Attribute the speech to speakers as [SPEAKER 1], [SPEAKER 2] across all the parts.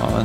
[SPEAKER 1] Ja,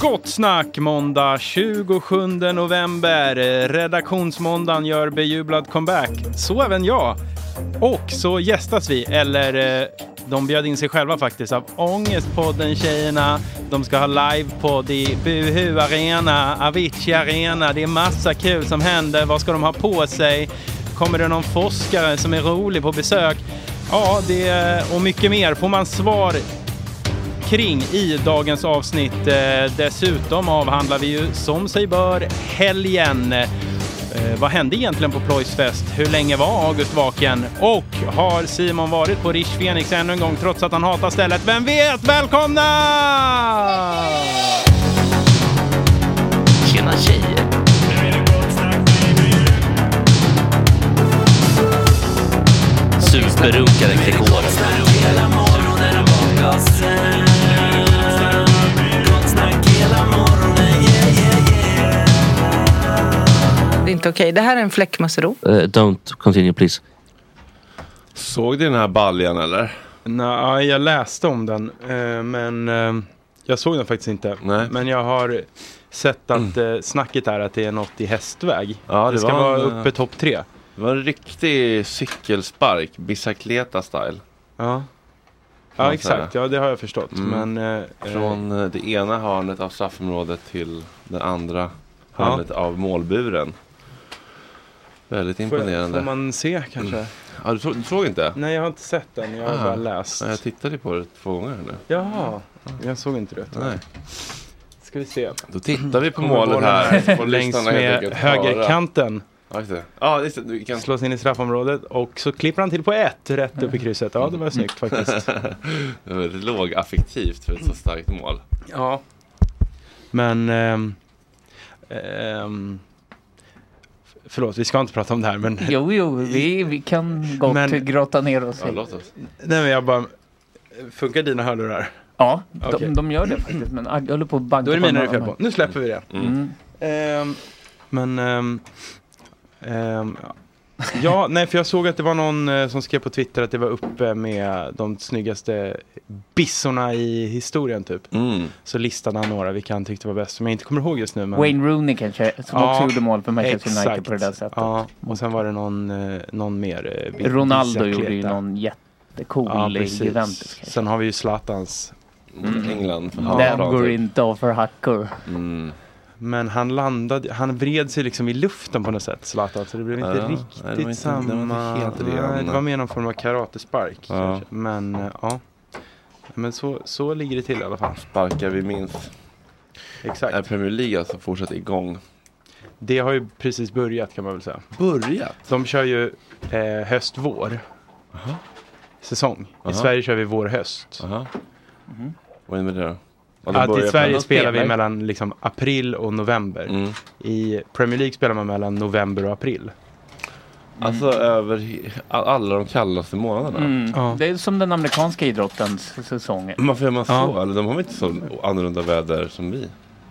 [SPEAKER 2] Gott snack måndag 27 november. Redaktionsmåndagen gör bejublad comeback. Så även jag. Och så gästas vi, eller eh, de bjöd in sig själva faktiskt, av Ångestpodden Tjejerna. De ska ha livepodd i Buhu Arena, Avicii Arena. Det är massa kul som händer. Vad ska de ha på sig? Kommer det någon forskare som är rolig på besök? Ja, det och mycket mer. Får man svar kring i dagens avsnitt. Eh, Dessutom avhandlar vi ju som sig bör helgen. Eh, vad hände egentligen på Ploys fest? Hur länge var August vaken? Och har Simon varit på Rich Fenix ännu en gång trots att han hatar stället? Vem vet? Välkomna!
[SPEAKER 3] Tjena tjejer! Superrunkaren Gregoren.
[SPEAKER 4] Det är inte okej. Det här är en fläckmussero.
[SPEAKER 3] Eh, don't continue please.
[SPEAKER 1] Såg du den här baljan eller?
[SPEAKER 2] Nej, jag läste om den, eh, men eh, jag såg den faktiskt inte.
[SPEAKER 1] Nej. Mm.
[SPEAKER 2] Men jag har sett att eh, snacket är att det är något i hästväg.
[SPEAKER 1] Ja, det
[SPEAKER 2] det ska
[SPEAKER 1] var
[SPEAKER 2] vara
[SPEAKER 1] en, eh,
[SPEAKER 2] uppe topp tre.
[SPEAKER 1] Det var en riktig cykelspark, bicicleta style.
[SPEAKER 2] Ja,
[SPEAKER 1] Kan
[SPEAKER 2] ja
[SPEAKER 1] man säga.
[SPEAKER 2] exakt. Ja, det har jag förstått.
[SPEAKER 1] Mm.
[SPEAKER 2] Men, eh,
[SPEAKER 1] Från eh, det ena hörnet av straffområdet till det andra hörnet av målburen. Väldigt
[SPEAKER 2] Får, jag,
[SPEAKER 1] imponerande.
[SPEAKER 2] får man se kanske?
[SPEAKER 1] ja, du, såg, du såg inte?
[SPEAKER 2] Nej, jag har inte sett den. Jag har
[SPEAKER 1] Ah.
[SPEAKER 2] bara läst.
[SPEAKER 1] Ja, jag tittade på det två gånger nu.
[SPEAKER 2] Jaha, jag såg inte det.
[SPEAKER 1] Nej.
[SPEAKER 2] Ska vi se.
[SPEAKER 1] Då tittar vi på
[SPEAKER 2] Kommer
[SPEAKER 1] målet
[SPEAKER 2] bollen
[SPEAKER 1] här. så får
[SPEAKER 2] Längs
[SPEAKER 1] lyssnarna helt
[SPEAKER 2] med
[SPEAKER 1] enkelt
[SPEAKER 2] högerkanten.
[SPEAKER 1] höra. Ja, just det. Ja, just det. Du kan slå.
[SPEAKER 2] Slås in i straffområdet och så klipper han till på ett rätt upp i krysset. Ja, det
[SPEAKER 1] Mm.
[SPEAKER 2] var snyggt faktiskt.
[SPEAKER 1] Det var väldigt lågaffektivt för ett så starkt mål.
[SPEAKER 2] Ja. Men... ehm, ehm, f- förlåt, vi ska inte prata om det här. Men,
[SPEAKER 5] Jo, jo, vi, vi kan gott
[SPEAKER 2] Men-
[SPEAKER 5] grotta ner oss
[SPEAKER 1] Ja,
[SPEAKER 5] i.
[SPEAKER 1] låt oss.
[SPEAKER 2] nej, men jag bara... Funkar dina hörlurar?
[SPEAKER 5] Ja,
[SPEAKER 2] Okej.
[SPEAKER 5] de, de gör det faktiskt. Men jag håller på att banka
[SPEAKER 2] Då är det mina det är
[SPEAKER 5] några
[SPEAKER 2] fel
[SPEAKER 5] av
[SPEAKER 2] på.
[SPEAKER 5] dem.
[SPEAKER 2] Nu släpper vi det.
[SPEAKER 5] Mm.
[SPEAKER 2] Ehm, men... ehm, ehm, ja. ja, nej, för jag såg att det var någon eh, som skrev på Twitter att det var uppe med de snyggaste bissorna i historien, typ.
[SPEAKER 1] Mm.
[SPEAKER 2] Så listade han några vilka han tyckte var bäst, som jag inte kommer ihåg just nu. Men...
[SPEAKER 5] Wayne Rooney kanske, som
[SPEAKER 2] Ja,
[SPEAKER 5] också gjorde mål för Manchester United på det där sättet.
[SPEAKER 2] Ja, och sen var det någon, eh, någon mer. eh, vid-
[SPEAKER 5] Ronaldo
[SPEAKER 2] bicicleta.
[SPEAKER 5] gjorde ju någon jättecool
[SPEAKER 2] Ja,
[SPEAKER 5] i Juventus.
[SPEAKER 2] precis.
[SPEAKER 1] liksom.
[SPEAKER 5] kanske.
[SPEAKER 2] Sen har vi ju Zlatans.
[SPEAKER 1] Mot England. för
[SPEAKER 5] Den
[SPEAKER 1] halvplan,
[SPEAKER 5] går
[SPEAKER 1] typ.
[SPEAKER 5] inte av för hackor.
[SPEAKER 1] Mm.
[SPEAKER 2] Men han landade, han vred sig liksom i luften på något sätt, Zlatan. Så det blev inte
[SPEAKER 1] Ja, nej,
[SPEAKER 2] riktigt
[SPEAKER 1] det var inte- det var inte
[SPEAKER 2] samma.
[SPEAKER 1] helt
[SPEAKER 2] nej,
[SPEAKER 1] ren.
[SPEAKER 2] det var mer någon form av karatespark.
[SPEAKER 1] Ja.
[SPEAKER 2] kanske. Men eh, ja. Men så, så ligger det till i alla fall.
[SPEAKER 1] Sparkar vi minst. Är
[SPEAKER 2] Exakt.
[SPEAKER 1] Premier League alltså fortsatt igång?
[SPEAKER 2] Det har ju precis börjat kan man väl säga.
[SPEAKER 1] Börjat?
[SPEAKER 2] De kör ju eh, höst-vår. Säsong. I
[SPEAKER 1] Aha.
[SPEAKER 2] Sverige kör vi vår-höst.
[SPEAKER 1] Jaha. Mm-hmm. Vad är det med det då? Ja, de
[SPEAKER 2] Att
[SPEAKER 1] börjar
[SPEAKER 2] I
[SPEAKER 1] på-
[SPEAKER 2] Sverige
[SPEAKER 5] de
[SPEAKER 2] spelar vi
[SPEAKER 5] spelar.
[SPEAKER 2] mellan liksom, april och november.
[SPEAKER 1] Mm.
[SPEAKER 2] I Premier League spelar man mellan november och april.
[SPEAKER 1] Alltså över he- all- alla de kallaste månaderna.
[SPEAKER 5] Mm.
[SPEAKER 2] Ja.
[SPEAKER 5] Det är som den amerikanska idrottens säsonger.
[SPEAKER 1] Varför gör man så?
[SPEAKER 2] Ja.
[SPEAKER 1] Eller de har väl inte så annorlunda väder som vi?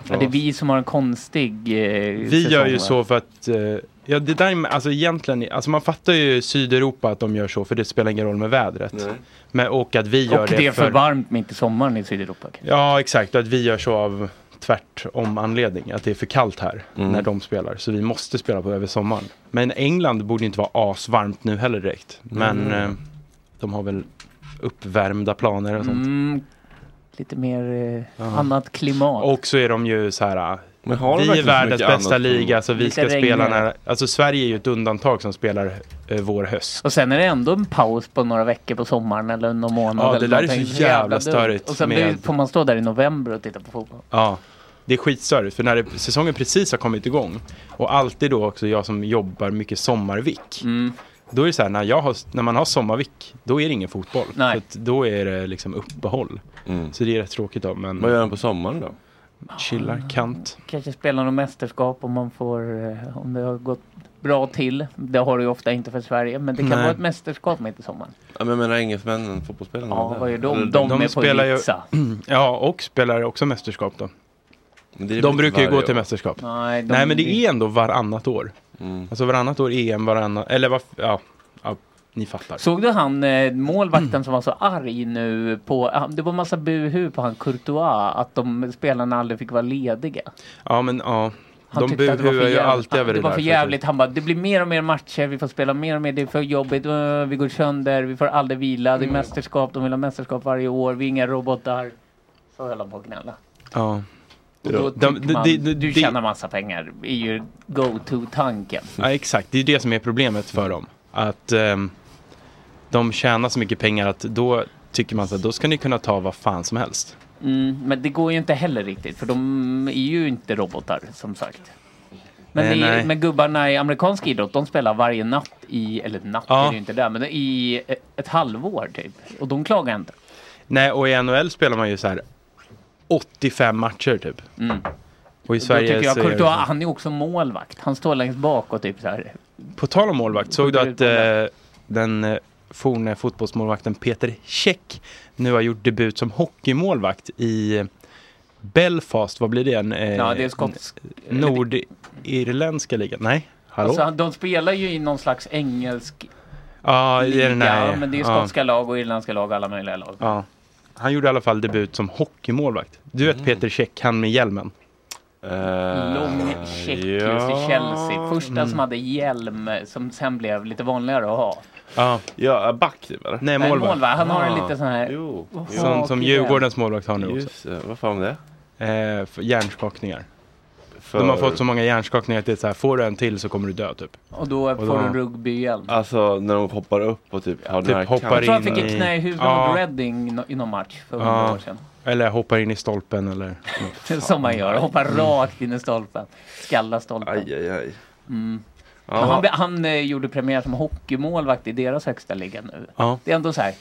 [SPEAKER 5] Ja, det är vi som har en konstig eh,
[SPEAKER 2] Vi
[SPEAKER 5] säsong,
[SPEAKER 2] gör ju
[SPEAKER 5] va?
[SPEAKER 2] så för att... eh, ja, det där, med- alltså egentligen, alltså man fattar ju Sydeuropa att de gör så för det spelar ingen roll med vädret. Men, och att vi gör
[SPEAKER 5] Och
[SPEAKER 2] det,
[SPEAKER 5] det är för varmt mitt i sommaren i Sydeuropa. kanske.
[SPEAKER 2] Ja, exakt. Och att vi gör så av tvärtom anledning. Att det är för kallt här
[SPEAKER 1] Mm.
[SPEAKER 2] när de spelar. Så vi måste spela på över sommaren. Men England borde inte vara asvarmt nu heller direkt. Men
[SPEAKER 5] Mm.
[SPEAKER 2] eh, de har väl uppvärmda planer och sånt.
[SPEAKER 5] Mm, lite mer eh,
[SPEAKER 2] Ja.
[SPEAKER 5] annat klimat.
[SPEAKER 2] Och så är de ju så här... eh,
[SPEAKER 1] Men har
[SPEAKER 2] Vi
[SPEAKER 1] de
[SPEAKER 2] är
[SPEAKER 1] verkligen så
[SPEAKER 2] världens
[SPEAKER 1] mycket
[SPEAKER 2] bästa
[SPEAKER 1] annat?
[SPEAKER 2] liga så vi
[SPEAKER 5] Lite
[SPEAKER 2] ska
[SPEAKER 5] regn
[SPEAKER 2] spela
[SPEAKER 5] här.
[SPEAKER 2] när, alltså Sverige är ju ett undantag som spelar eh, vår höst.
[SPEAKER 5] Och sen är det ändå en paus på några veckor på sommaren eller någon månad.
[SPEAKER 2] Ja, det
[SPEAKER 5] eller
[SPEAKER 2] där är
[SPEAKER 5] någonting.
[SPEAKER 2] så jävla
[SPEAKER 5] dumt.
[SPEAKER 2] störigt
[SPEAKER 5] Och sen
[SPEAKER 2] med-
[SPEAKER 5] blir, får man stå där i november och titta på fotboll.
[SPEAKER 2] Ja. Det är skitstörigt för när det, säsongen precis har kommit igång och alltid då också jag som jobbar mycket sommarvick.
[SPEAKER 5] Mm.
[SPEAKER 2] Då är det så här när, jag har, när man har sommarvick då är det ingen fotboll.
[SPEAKER 5] Nej.
[SPEAKER 2] Så att då är det liksom uppehåll.
[SPEAKER 1] Mm.
[SPEAKER 2] Så det är rätt tråkigt då men
[SPEAKER 1] Vad gör de på sommaren då?
[SPEAKER 2] chillar kant.
[SPEAKER 5] Kanske spela något mästerskap om man får, eh, om det har gått bra till. Det har det ju ofta inte för Sverige, men det kan
[SPEAKER 2] Nej.
[SPEAKER 5] vara ett mästerskap mitt i sommaren.
[SPEAKER 1] Ja, men jag menar engelsmännen, fotbollsspelarna.
[SPEAKER 5] Ja,
[SPEAKER 1] där.
[SPEAKER 5] vad gör
[SPEAKER 1] Eller
[SPEAKER 5] de? De,
[SPEAKER 2] de
[SPEAKER 5] är
[SPEAKER 2] spelar ju-
[SPEAKER 5] på Ibiza.
[SPEAKER 2] Ja och spelar också mästerskap då.
[SPEAKER 1] Men det är väl
[SPEAKER 2] De
[SPEAKER 1] inte
[SPEAKER 2] brukar ju
[SPEAKER 1] varje
[SPEAKER 2] gå till
[SPEAKER 1] år.
[SPEAKER 2] mästerskap.
[SPEAKER 5] Nej, de,
[SPEAKER 2] Nej men det är ändå varannat år.
[SPEAKER 1] Mm.
[SPEAKER 2] Alltså varannat år EM, varannat, eller vad, ja, ja, ni fattar.
[SPEAKER 5] Såg du han eh, målvakten som var så arg nu på, han- det var massa buhu på han Courtois, att de spelarna aldrig fick vara lediga.
[SPEAKER 2] Ja, men ja.
[SPEAKER 5] Han
[SPEAKER 2] de
[SPEAKER 5] tyckte att det var för
[SPEAKER 2] buhuar ju
[SPEAKER 5] jävligt.
[SPEAKER 2] alltid över
[SPEAKER 5] det
[SPEAKER 2] det
[SPEAKER 5] var
[SPEAKER 2] där,
[SPEAKER 5] för
[SPEAKER 2] så att-
[SPEAKER 5] jävligt. Han bara, det blir mer och mer matcher, vi får spela mer och mer, det är för jobbigt, Öh, vi går sönder, vi får aldrig vila,
[SPEAKER 2] Mm.
[SPEAKER 5] det är mästerskap, de vill ha mästerskap varje år, vi är inga robotar. Så höll han på att gnälla.
[SPEAKER 2] Ja.
[SPEAKER 5] Och då
[SPEAKER 2] De-
[SPEAKER 5] tycker
[SPEAKER 2] det-
[SPEAKER 5] man,
[SPEAKER 2] det- det-
[SPEAKER 5] du
[SPEAKER 2] det-
[SPEAKER 5] tjänar massa pengar, är ju go-to-tanken.
[SPEAKER 2] ja, exakt. Det är ju det som är problemet för dem. Att ehm, de tjänar så mycket pengar att då tycker man så att då ska ni kunna ta vad fan som helst.
[SPEAKER 5] Mm, men det går ju inte heller riktigt, för de är ju inte robotar, som sagt. Men,
[SPEAKER 6] Eh,
[SPEAKER 5] i,
[SPEAKER 6] nej.
[SPEAKER 5] men gubbarna i amerikansk idrott, de spelar varje natt i, eller natt är det ju inte där, men i e- ett halvår typ. Och de klagar inte.
[SPEAKER 2] Nej, och i NHL spelar man ju så här 85 matcher typ. Och i
[SPEAKER 5] Mm. Då
[SPEAKER 2] Sverige
[SPEAKER 5] tycker jag
[SPEAKER 2] så är det-
[SPEAKER 5] Courtois, han är också målvakt. Han står längst bak och typ så här.
[SPEAKER 2] På tal om målvakt, såg du att eh, den eh, forne fotbollsmålvakten Peter Käck nu har gjort debut som hockeymålvakt i eh, Belfast, vad blir det? En, eh,
[SPEAKER 5] Ja, det är skotsk-
[SPEAKER 2] n- Nordirländska ligan? Nej, hallå?
[SPEAKER 5] Alltså, han- de spelar ju i någon slags engelsk
[SPEAKER 2] ja, det är den här,
[SPEAKER 5] liga, men det är ju
[SPEAKER 2] ja.
[SPEAKER 5] skotska lag och irländska lag och alla möjliga lag.
[SPEAKER 2] Ja. Han gjorde i alla fall debut som hockeymålvakt. Du vet Peter Käck, han med hjälmen?
[SPEAKER 5] Lång check just i Chelsea. Första som hade hjälm som sen blev lite vanligare att ha.
[SPEAKER 2] Ja.
[SPEAKER 1] ja, back typ eller?
[SPEAKER 2] Nej, målvakt.
[SPEAKER 5] Han har en
[SPEAKER 1] Ah.
[SPEAKER 5] liten sån här...
[SPEAKER 1] jo.
[SPEAKER 2] Sån som
[SPEAKER 5] hakig
[SPEAKER 2] Djurgårdens målvakt har nu också.
[SPEAKER 1] Just det, vad fan var
[SPEAKER 2] Eh, för hjärnskakningar.
[SPEAKER 1] För-
[SPEAKER 2] De har fått så många hjärnskakningar att det är så här, får du en till så kommer du dö typ.
[SPEAKER 5] Och då får du en rugbyhjälm.
[SPEAKER 1] det? Alltså när de hoppar upp och typ har den
[SPEAKER 2] Typ
[SPEAKER 1] här
[SPEAKER 2] hoppar
[SPEAKER 5] Jag tror han
[SPEAKER 2] in
[SPEAKER 5] fick ett
[SPEAKER 2] i-
[SPEAKER 5] knä i huvudet
[SPEAKER 2] Ja.
[SPEAKER 5] mot Reading no- i någon match för hundra
[SPEAKER 2] Ja.
[SPEAKER 5] år sedan.
[SPEAKER 2] Eller hoppar in i stolpen eller...
[SPEAKER 5] Som man gör, hoppar rakt in i stolpen. Skallar stolpen.
[SPEAKER 1] Aj, aj, aj.
[SPEAKER 5] Mm.
[SPEAKER 1] Ja.
[SPEAKER 5] Men han, han eh, gjorde premiär som hockeymålvakt i deras högsta liga nu.
[SPEAKER 1] Ja.
[SPEAKER 5] Det är ändå så här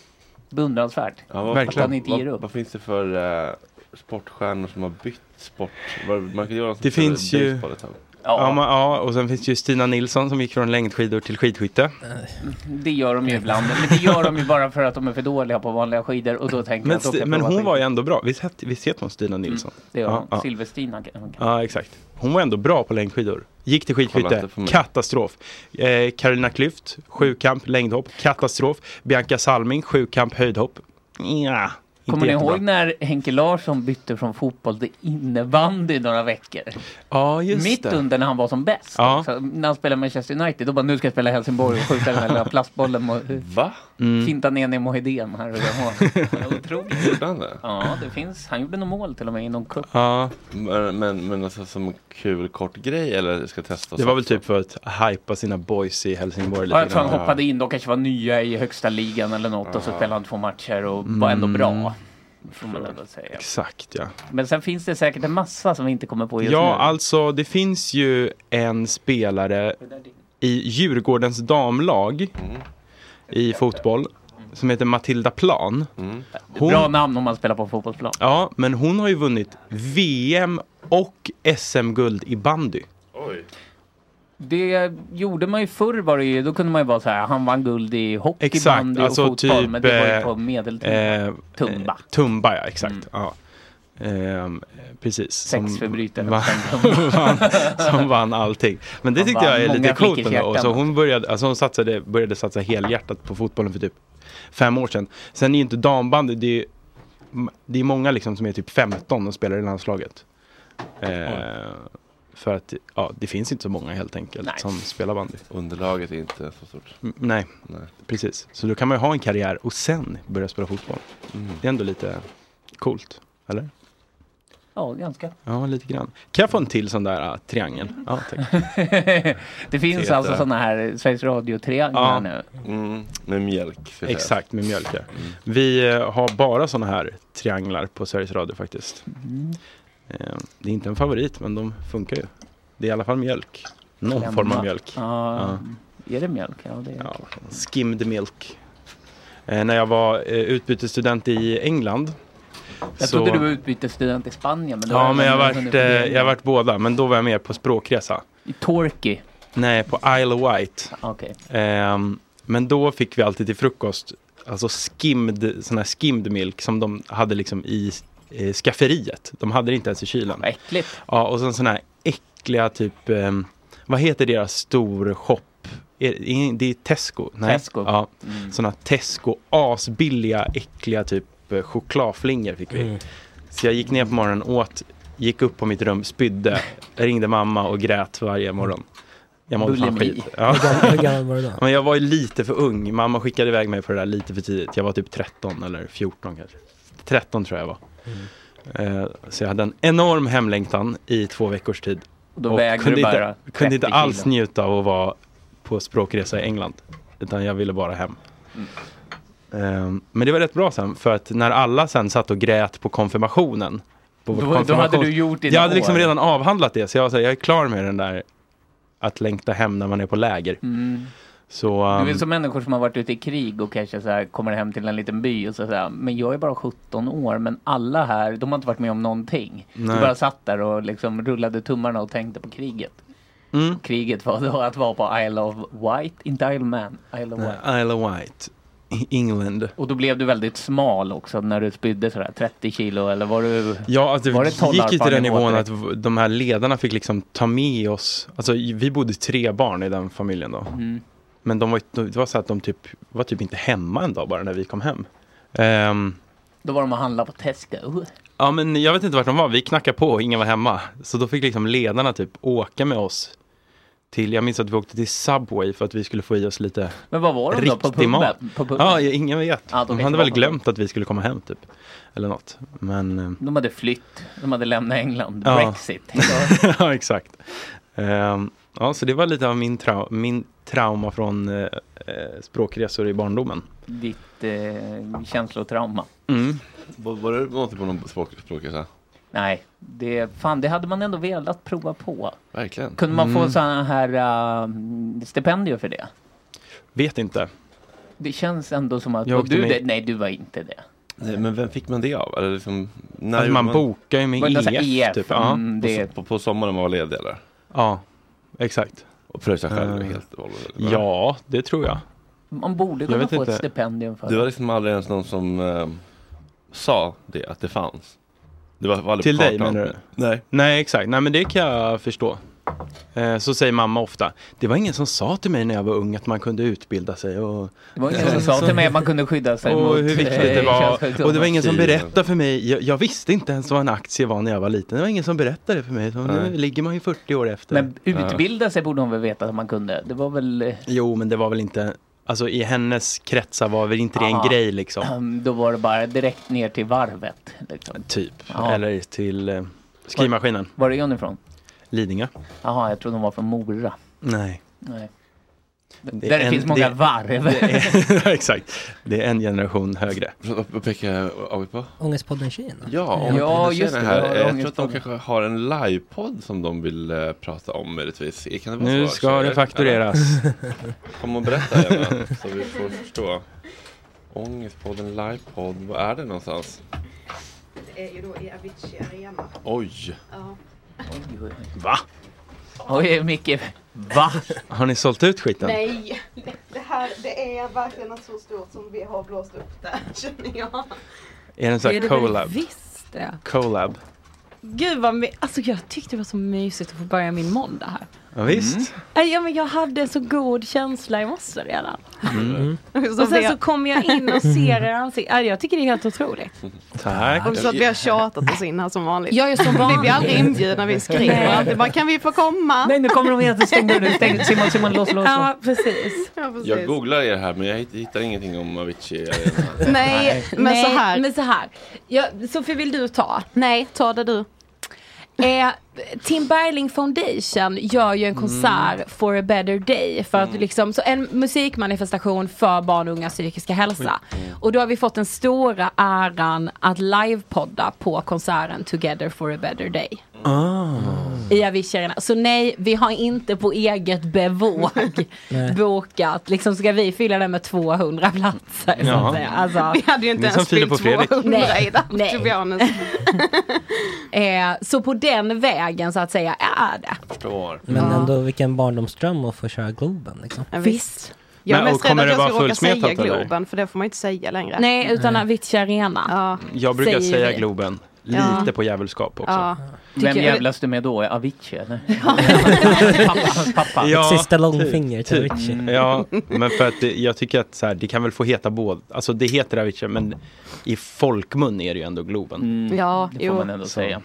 [SPEAKER 5] beundransvärt.
[SPEAKER 1] Ja, vad,
[SPEAKER 5] Att han inte
[SPEAKER 1] vad-
[SPEAKER 5] ger upp.
[SPEAKER 1] Vad finns det för eh, sportstjärnor som har bytt sport? Var- Man kan göra något
[SPEAKER 2] Det
[SPEAKER 1] som
[SPEAKER 2] finns
[SPEAKER 1] spelar
[SPEAKER 2] ju...
[SPEAKER 1] baseball ett tag.
[SPEAKER 2] Ja. men, ja, och sen finns det ju Stina Nilsson som gick från längdskidor till skidskytte.
[SPEAKER 5] Det gör de ju ibland. Men det gör de ju bara för att de är för dåliga på vanliga skidor. Och då tänker jag
[SPEAKER 2] Men,
[SPEAKER 5] att då kan
[SPEAKER 2] Sti-
[SPEAKER 5] jag
[SPEAKER 2] men
[SPEAKER 5] prova
[SPEAKER 2] hon
[SPEAKER 5] skidor.
[SPEAKER 2] var ju ändå bra. Visst hette, visst heter hon Stina Nilsson?
[SPEAKER 5] Det gör
[SPEAKER 2] ja,
[SPEAKER 5] hon.
[SPEAKER 2] ja.
[SPEAKER 5] Silverstina. kan- hon kan-
[SPEAKER 2] ja, exakt. Hon var ändå bra på längdskidor. Gick till
[SPEAKER 1] Kolla efter
[SPEAKER 2] skidskytte,
[SPEAKER 1] för mig.
[SPEAKER 2] katastrof. Eh, Carolina Klüft, sjukamp, längdhopp, katastrof. Bianca Salming, sjukamp, höjdhopp. Ja, inte
[SPEAKER 5] Kommer ni
[SPEAKER 2] jättebra.
[SPEAKER 5] ihåg när Henke Larsson bytte från fotboll till innebandy några veckor?
[SPEAKER 2] Ja, just
[SPEAKER 5] Mitt
[SPEAKER 2] det.
[SPEAKER 5] under när han var som bäst.
[SPEAKER 2] Ja.
[SPEAKER 5] också. när han spelade Manchester United, då bara nu ska jag spela Helsingborg och skjuta den här lilla plastbollen. Mot,
[SPEAKER 1] Va?
[SPEAKER 2] Mm.
[SPEAKER 5] Finta ner den i Mohedén här. och där. Otroligt.
[SPEAKER 1] Gjorde han det?
[SPEAKER 5] Ja, det finns. Han gjorde nog mål till och med i någon cup.
[SPEAKER 2] Ja.
[SPEAKER 1] Men, men, men alltså som en kul kort grej eller ska testa?
[SPEAKER 2] Det var väl typ för att hypa sina boys i Helsingborg lite
[SPEAKER 5] Ja, jag tror han
[SPEAKER 2] grann.
[SPEAKER 5] hoppade in, de kanske var nya i högsta ligan eller något och så
[SPEAKER 2] Ja.
[SPEAKER 5] spelade han två matcher och var ändå
[SPEAKER 2] Mm.
[SPEAKER 5] bra. Får man ändå säga.
[SPEAKER 2] Exakt ja.
[SPEAKER 5] Men sen finns det säkert en massa som vi inte kommer på just
[SPEAKER 2] Ja,
[SPEAKER 5] nu.
[SPEAKER 2] alltså det finns ju en spelare i Djurgårdens damlag i fotboll som heter Matilda Plan.
[SPEAKER 5] Bra namn om man spelar på en fotbollsplan.
[SPEAKER 2] Ja, men hon har ju vunnit VM och SM-guld i bandy.
[SPEAKER 1] Oj.
[SPEAKER 5] Det gjorde man ju förr var det ju, då kunde man ju vara så här, han vann guld i hockey, bandy och fotboll. men det var ju på
[SPEAKER 2] Alltså, eh,
[SPEAKER 5] medeltiden.
[SPEAKER 2] eh,
[SPEAKER 5] Tumba. Mm.
[SPEAKER 2] eh, Tumba, ja exakt. Ja. Ehm, precis. Som
[SPEAKER 5] Sexförbrytaren
[SPEAKER 2] vann-
[SPEAKER 5] sen Tumba.
[SPEAKER 2] vann, som vann allting. Men det
[SPEAKER 5] Han
[SPEAKER 2] tyckte jag
[SPEAKER 5] vann
[SPEAKER 2] är lite
[SPEAKER 5] många
[SPEAKER 2] coolt
[SPEAKER 5] flickors
[SPEAKER 2] ändå. Och så
[SPEAKER 5] hjärtan.
[SPEAKER 2] hon började, alltså hon satsade, började satsa helhjärtat på fotbollen för typ fem år sedan. Sen är ju inte dambandy, det är, ju- det är många liksom som är typ 15 och spelar i landslaget. Eh, för att ja, det finns inte så många helt enkelt som spelar bandy.
[SPEAKER 1] Underlaget är inte så stort.
[SPEAKER 2] Mm, Nej. precis. Så då kan man ju ha en karriär och sen börja spela fotboll. Det är ändå lite coolt, eller?
[SPEAKER 5] Ja, ganska.
[SPEAKER 2] Ja, lite grann. Kan jag få en till sån där ah, triangel? Ja, tack.
[SPEAKER 5] det finns
[SPEAKER 2] Peter.
[SPEAKER 5] alltså sådana här Sveriges Radio-trianglar
[SPEAKER 2] Ja.
[SPEAKER 5] nu.
[SPEAKER 1] Mm, med mjölk. för att säga.
[SPEAKER 2] Exakt, med mjölk. ja. Vi eh, har bara såna här trianglar på Sveriges Radio faktiskt.
[SPEAKER 5] Mm.
[SPEAKER 2] Eh, Det är inte en favorit, men de funkar ju. Det är i alla fall mjölk. Någon
[SPEAKER 5] Klämma.
[SPEAKER 2] form av mjölk.
[SPEAKER 5] Ja.
[SPEAKER 2] Ja.
[SPEAKER 5] Är det mjölk? Ja, det är det.
[SPEAKER 2] Skimmed milk. Eh, När jag var eh, utbytesstudent i England.
[SPEAKER 5] Jag
[SPEAKER 2] så-
[SPEAKER 5] trodde du var utbytesstudent i Spanien. Men då
[SPEAKER 2] Ja,
[SPEAKER 5] har
[SPEAKER 2] men jag har
[SPEAKER 5] ändå
[SPEAKER 2] varit,
[SPEAKER 5] hunnit
[SPEAKER 2] eh,
[SPEAKER 5] fundera.
[SPEAKER 2] jag har varit båda, men då var jag med på språkresa.
[SPEAKER 5] I Torquay?
[SPEAKER 2] Nej, på Isle of Wight.
[SPEAKER 5] Okej.
[SPEAKER 2] Ehm, men då fick vi alltid till frukost, alltså skimmed, sån här skimmed milk som de hade liksom i eh, skafferiet. De hade det inte ens i kylen. Vad
[SPEAKER 5] äckligt.
[SPEAKER 2] Ja, och sen sån här äckliga typ, ehm, vad heter deras stor shop? Är- är- Det är Tesco. Nej.
[SPEAKER 5] Tesco.
[SPEAKER 2] Ja.
[SPEAKER 5] Mm.
[SPEAKER 2] Såna Tesco, asbilliga, äckliga typ eh, chokladflingor fick vi. Så jag gick ner på morgonen, åt, gick upp på mitt rum, spydde, ringde mamma och grät varje morgon. Jag mådde fan
[SPEAKER 7] Bulimi.
[SPEAKER 2] skit. Ja.
[SPEAKER 7] Hur gammal- hur gammal var du då?
[SPEAKER 2] Men jag var ju lite för ung. Mamma skickade iväg mig på det där lite för tidigt. Jag var typ 13 eller 14 kanske. 13 tror jag jag var.
[SPEAKER 5] Mm.
[SPEAKER 2] Eh, Så jag hade en enorm hemlängtan i två veckors tid.
[SPEAKER 5] Och då vägde
[SPEAKER 2] kunde
[SPEAKER 5] du bara
[SPEAKER 2] inte, kunde inte
[SPEAKER 5] 30
[SPEAKER 2] alls
[SPEAKER 5] kilo.
[SPEAKER 2] njuta av att vara på språkresa i England. Utan jag ville bara hem.
[SPEAKER 5] Mm.
[SPEAKER 2] Eh, Men det var rätt bra sen. För att när alla sen satt och grät på konfirmationen. På vårt
[SPEAKER 5] Då- då hade du gjort dina
[SPEAKER 2] Jag hade liksom
[SPEAKER 5] år.
[SPEAKER 2] redan avhandlat det. Så jag var så här, jag är klar med den där att längta hem när man är på läger.
[SPEAKER 5] Mm.
[SPEAKER 2] Så,
[SPEAKER 5] Det är
[SPEAKER 2] ehm,
[SPEAKER 5] väl som människor som har varit ute i krig och kanske så här, kommer hem till en liten by och så här, men jag är bara 17 år, men alla här, de har inte varit med om någonting.
[SPEAKER 2] Nej.
[SPEAKER 5] De bara satt där och liksom rullade tummarna och tänkte på kriget.
[SPEAKER 2] Mm.
[SPEAKER 5] Och Kriget var då att vara på Isle of Wight, inte Isle of Man, Isle of Wight.
[SPEAKER 2] Isle of Wight, i England.
[SPEAKER 5] Och då blev du väldigt smal också när du spydde sådär 30 kilo eller var du?
[SPEAKER 2] Ja, alltså,
[SPEAKER 5] var
[SPEAKER 2] det gick ju till den
[SPEAKER 5] Tollarpa-nivå
[SPEAKER 2] nivån att
[SPEAKER 5] direkt?
[SPEAKER 2] v- de här ledarna fick liksom ta med oss. Alltså, i- vi bodde tre barn i den familjen då.
[SPEAKER 5] Mm.
[SPEAKER 2] Men de var, ju- det var så att de typ, var typ inte hemma en dag bara när vi kom hem. Ehm,
[SPEAKER 5] Då var de och handlade på Tesco.
[SPEAKER 2] ja, men jag vet inte vart de var. Vi knackade på och ingen var hemma. Så då fick liksom ledarna typ åka med oss till, jag minns att vi åkte till Subway för att vi skulle få i oss lite
[SPEAKER 5] Men vad var de då? På
[SPEAKER 2] riktig
[SPEAKER 5] puben?
[SPEAKER 2] mat.
[SPEAKER 5] På puben?
[SPEAKER 2] Ja, ja, ingen vet.
[SPEAKER 5] Ja, de
[SPEAKER 2] de
[SPEAKER 5] vet
[SPEAKER 2] hade
[SPEAKER 5] inte
[SPEAKER 2] väl
[SPEAKER 5] vad de-
[SPEAKER 2] glömt att vi skulle komma hem typ. Eller något. Men... ehm,
[SPEAKER 5] De hade flytt, de hade lämnat England,
[SPEAKER 2] Ja.
[SPEAKER 5] Brexit.
[SPEAKER 2] ja, exakt. Ehm, ja, så det var lite av min, trau- min trauma från eh, eh, språkresor i barndomen.
[SPEAKER 5] Ditt eh, känslotrauma.
[SPEAKER 1] Var, var det någonting på någon språk, språkresa?
[SPEAKER 5] Nej, det, fan, det hade man ändå velat prova på.
[SPEAKER 1] Verkligen.
[SPEAKER 5] Kunde man få
[SPEAKER 2] Mm.
[SPEAKER 5] sådana här äh, stipendier för det?
[SPEAKER 2] Vet inte.
[SPEAKER 5] Det känns ändå som att...
[SPEAKER 2] Jag
[SPEAKER 5] var
[SPEAKER 2] åkte
[SPEAKER 5] du
[SPEAKER 2] med-
[SPEAKER 5] det? Nej, du var inte det.
[SPEAKER 1] Nej, men vem fick man det av? Eller liksom, när
[SPEAKER 2] Alltså,
[SPEAKER 1] gjorde
[SPEAKER 2] man bokar ju med
[SPEAKER 5] Var det någon sån här
[SPEAKER 2] EF,
[SPEAKER 5] EF?
[SPEAKER 2] typ.
[SPEAKER 5] Mm,
[SPEAKER 1] på,
[SPEAKER 5] det-
[SPEAKER 1] so- på, på sommaren man var ledig eller?
[SPEAKER 2] Ja, exakt.
[SPEAKER 1] Och pröjsa själv
[SPEAKER 2] Eh,
[SPEAKER 1] helt och hållet? eller?
[SPEAKER 2] Ja, det tror jag.
[SPEAKER 5] Man borde
[SPEAKER 2] Jag
[SPEAKER 5] kunna
[SPEAKER 2] vet
[SPEAKER 5] få ett
[SPEAKER 2] inte.
[SPEAKER 5] stipendium för
[SPEAKER 1] Det
[SPEAKER 5] det.
[SPEAKER 1] var liksom aldrig ens någon som eh, sa det, att det fanns. Det var var aldrig
[SPEAKER 2] Till
[SPEAKER 1] på
[SPEAKER 2] dig
[SPEAKER 1] kartan.
[SPEAKER 2] menar du?
[SPEAKER 1] Nej.
[SPEAKER 2] Nej, exakt. Nej, men det kan jag förstå. Eh, Så säger mamma ofta. Det var ingen som sa till mig när jag var ung att man kunde utbilda sig och
[SPEAKER 5] Det var ingen som sa till mig att man kunde skydda sig
[SPEAKER 2] och
[SPEAKER 5] mot
[SPEAKER 2] hur viktigt
[SPEAKER 5] eh,
[SPEAKER 2] det var.
[SPEAKER 5] könssjukdomar.
[SPEAKER 2] Och det var ingen som
[SPEAKER 1] Tiden.
[SPEAKER 2] berättade för mig. Jag, jag visste inte ens vad en aktie var när jag var liten. Det var ingen som berättade för mig. Så nu
[SPEAKER 1] Nej.
[SPEAKER 2] ligger man ju 40 år efter.
[SPEAKER 5] Men utbilda sig borde hon väl veta att man kunde. Det var väl... eh,
[SPEAKER 2] Jo, men det var väl inte... Alltså i hennes kretsar var väl inte det
[SPEAKER 5] Aha.
[SPEAKER 2] en grej liksom.
[SPEAKER 5] Då var det bara direkt ner till varvet. Liksom.
[SPEAKER 2] Typ.
[SPEAKER 5] Ja.
[SPEAKER 2] Eller till eh, skrivmaskinen.
[SPEAKER 5] Var är hon ifrån?
[SPEAKER 2] Lidingö.
[SPEAKER 5] Jaha, jag trodde hon var från Mora.
[SPEAKER 2] Nej.
[SPEAKER 5] Nej.
[SPEAKER 2] Det
[SPEAKER 5] Där
[SPEAKER 2] är
[SPEAKER 5] det
[SPEAKER 2] en-
[SPEAKER 5] finns många
[SPEAKER 2] det-
[SPEAKER 5] varv.
[SPEAKER 2] det är- Exakt. Det är en generation högre.
[SPEAKER 1] Vad- Vad pekar vi på?
[SPEAKER 7] Ångestpodden Kina.
[SPEAKER 1] Ja, om
[SPEAKER 5] Ja,
[SPEAKER 1] ja
[SPEAKER 5] just
[SPEAKER 1] just
[SPEAKER 5] det,
[SPEAKER 1] Här.
[SPEAKER 5] vi har
[SPEAKER 1] eh, Jag tror att de
[SPEAKER 5] ångestpodden.
[SPEAKER 1] kanske har en livepodd som de vill eh, prata om möjligtvis. Kan det vara
[SPEAKER 2] Nu
[SPEAKER 1] så,
[SPEAKER 2] ska
[SPEAKER 1] tjejer?
[SPEAKER 2] det faktureras.
[SPEAKER 1] Ja, Kom och berätta gärna så vi får förstå. Ångestpodden, livepodd, vad är det någonstans?
[SPEAKER 6] är ju då i Avicii Arena.
[SPEAKER 1] Oj!
[SPEAKER 6] Ja.
[SPEAKER 2] Va?
[SPEAKER 5] Oj, Micke. Va?
[SPEAKER 2] Har ni sålt ut skiten?
[SPEAKER 6] Nej, det här det är verkligen något så stort som vi har blåst upp där känner jag.
[SPEAKER 2] Är det en sån här collab?
[SPEAKER 8] visst det.
[SPEAKER 2] Collab.
[SPEAKER 8] Gud vad my- alltså jag tyckte det var så mysigt att få börja min måndag här.
[SPEAKER 2] Ja, visst.
[SPEAKER 8] Äh, Ja, men jag hade en så god känsla i morse redan.
[SPEAKER 2] Mm.
[SPEAKER 8] och sen så kom jag in och ser er ansikte. Äh, jag tycker det är helt otroligt.
[SPEAKER 2] Tack.
[SPEAKER 6] Och så att vi har tjatat oss in här som vanligt.
[SPEAKER 8] Jag är som
[SPEAKER 6] Blir vi
[SPEAKER 8] vanligt.
[SPEAKER 6] aldrig inbjudna, vi skriver
[SPEAKER 8] Nej.
[SPEAKER 6] alltid bara kan vi få komma?
[SPEAKER 5] Nej, nu kommer de igen. Stäng dörren. Stäng. Simon, Simon, lås, lås. lås.
[SPEAKER 8] Ja, precis.
[SPEAKER 6] Ja, precis.
[SPEAKER 1] Jag googlar er här men jag hitt- hittar ingenting om Avicii.
[SPEAKER 6] Nej, men
[SPEAKER 8] Nej,
[SPEAKER 6] så här.
[SPEAKER 8] Men så här. Jag, Sofie, vill du ta? Nej, ta det du. Eh, Tim Berling Foundation gör ju en
[SPEAKER 2] Mm.
[SPEAKER 8] konsert for a better day. För att liksom, så en musikmanifestation för barn och ungas psykiska hälsa.
[SPEAKER 2] Mm.
[SPEAKER 8] Och då har vi fått den stora äran att livepodda på konserten Together for a better day. I Avicii Arena. Så nej, vi har inte på eget bevåg bokat. Liksom ska vi fylla den med 200 platser. Så
[SPEAKER 2] Ja.
[SPEAKER 8] att säga. Alltså,
[SPEAKER 6] Vi hade ju
[SPEAKER 2] Det
[SPEAKER 6] inte
[SPEAKER 2] är Mm. som
[SPEAKER 6] ens
[SPEAKER 2] Filip och
[SPEAKER 6] fyllt
[SPEAKER 2] Fredrik.
[SPEAKER 6] 200 i
[SPEAKER 8] Nej.
[SPEAKER 6] den
[SPEAKER 8] Eh, så på den vägen så att säga är det.
[SPEAKER 1] Förstår.
[SPEAKER 9] Men ändå vilken barndomsdröm att få köra Globen liksom.
[SPEAKER 6] Visst. Jag är
[SPEAKER 2] Men,
[SPEAKER 6] mest
[SPEAKER 2] och
[SPEAKER 6] rädd
[SPEAKER 2] kommer
[SPEAKER 6] att
[SPEAKER 2] det
[SPEAKER 6] jag
[SPEAKER 2] vara
[SPEAKER 6] ska råka säga
[SPEAKER 2] fullsmetat, eller?
[SPEAKER 6] Globen för det får man inte säga längre.
[SPEAKER 8] Nej, utan Avicii Arena.
[SPEAKER 6] Ja,
[SPEAKER 2] Jag brukar
[SPEAKER 8] Säger
[SPEAKER 2] säga
[SPEAKER 8] vi.
[SPEAKER 2] Globen.
[SPEAKER 6] Ja.
[SPEAKER 2] Lite på djävulskap också.
[SPEAKER 6] ja.
[SPEAKER 5] Vem
[SPEAKER 8] Tycker jag-
[SPEAKER 5] jävlas du med då? Avicii? eller? Pappa, hans pappa.
[SPEAKER 2] Ja,
[SPEAKER 9] Ett sista långfinger till
[SPEAKER 2] typ.
[SPEAKER 9] Avicii.
[SPEAKER 2] Ja, men för att det, jag tycker att så här, det kan väl få heta båda. Alltså det heter Avicii, men i folkmun är det ju ändå Globen.
[SPEAKER 6] ja
[SPEAKER 5] Det får man
[SPEAKER 6] jo.
[SPEAKER 5] ändå säga.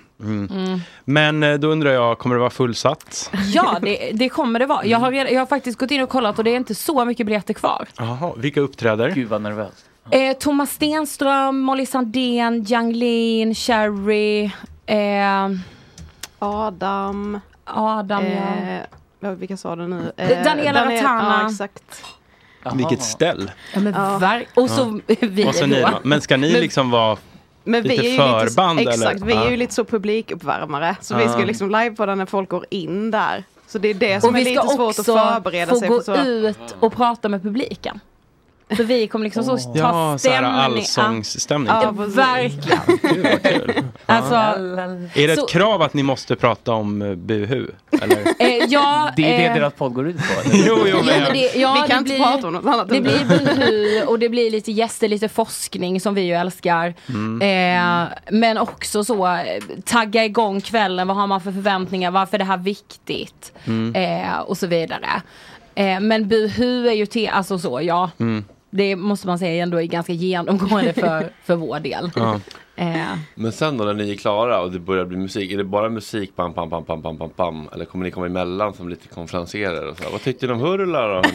[SPEAKER 2] Men eh, då undrar jag, kommer det vara fullsatt?
[SPEAKER 8] Ja, det, det kommer det vara. Jag
[SPEAKER 6] Mm.
[SPEAKER 8] har, redan, jag har faktiskt gått in och kollat och det är inte så mycket biljetter kvar.
[SPEAKER 2] Jaha, vilka uppträder?
[SPEAKER 5] Gud vad nervös.
[SPEAKER 8] Eh, Thomas Stenström, Molly Sandén, Janglin, Cherry, eh,
[SPEAKER 6] Adam.
[SPEAKER 8] Adam. ja.
[SPEAKER 6] Eh, vad- vilka sa du nu? Eh,
[SPEAKER 8] Daniela Ratana.
[SPEAKER 6] Ja, exakt.
[SPEAKER 5] Jaha.
[SPEAKER 2] Vilket ställ!
[SPEAKER 8] Ja, men ver- och så vi
[SPEAKER 2] Och så ni,
[SPEAKER 8] då.
[SPEAKER 2] va? men ska ni
[SPEAKER 6] Men-
[SPEAKER 2] liksom vara...
[SPEAKER 6] Men
[SPEAKER 2] Lite
[SPEAKER 6] vi är ju lite så,
[SPEAKER 2] förband, eller?
[SPEAKER 6] Exakt, vi är
[SPEAKER 2] Ja.
[SPEAKER 6] ju lite så publikuppvärmare. Så vi ska
[SPEAKER 2] Ah.
[SPEAKER 6] liksom live på den när folk går in där. Så det är det som
[SPEAKER 8] och
[SPEAKER 6] är
[SPEAKER 8] vi ska
[SPEAKER 6] lite svårt att
[SPEAKER 8] också
[SPEAKER 6] förbereda
[SPEAKER 8] få
[SPEAKER 6] sig
[SPEAKER 8] gå
[SPEAKER 6] för. Så.
[SPEAKER 8] ut och prata med publiken. För vi kommer liksom så ta
[SPEAKER 2] Ja, så här
[SPEAKER 8] stämning.
[SPEAKER 2] allsångsstämning.
[SPEAKER 8] Ja, verkligen. alltså,
[SPEAKER 2] Är det ett
[SPEAKER 8] så-
[SPEAKER 2] krav att ni måste prata om eh, buhu? Eller?
[SPEAKER 8] Eh, ja,
[SPEAKER 2] Det är det
[SPEAKER 8] eh,
[SPEAKER 2] deras
[SPEAKER 5] podd går ut på.
[SPEAKER 2] jo, jo,
[SPEAKER 8] Jo, men Alltså, det, ja,
[SPEAKER 6] Vi kan
[SPEAKER 8] det
[SPEAKER 6] inte
[SPEAKER 8] blir,
[SPEAKER 6] prata om något annat
[SPEAKER 8] Det
[SPEAKER 6] än
[SPEAKER 8] blir
[SPEAKER 6] det.
[SPEAKER 8] buhu och det blir lite gäster, lite forskning som vi ju älskar.
[SPEAKER 6] Mm.
[SPEAKER 8] Eh, men också så, eh, tagga igång kvällen, vad har man för förväntningar, varför är det här viktigt?
[SPEAKER 10] Mm.
[SPEAKER 8] Eh, och så vidare. Eh, men buhu är ju te, alltså så ja.
[SPEAKER 1] Mm.
[SPEAKER 8] Det måste man säga ändå är ganska genomgående för, för vår del. Eh,
[SPEAKER 1] Men sen då när ni är klara och det börjar bli musik, är det bara musik pam, pam, pam, pam, pam, pam, pam? Eller kommer ni komma emellan som lite konferenserer och så? Vad tyckte ni om Hurula då? hörni?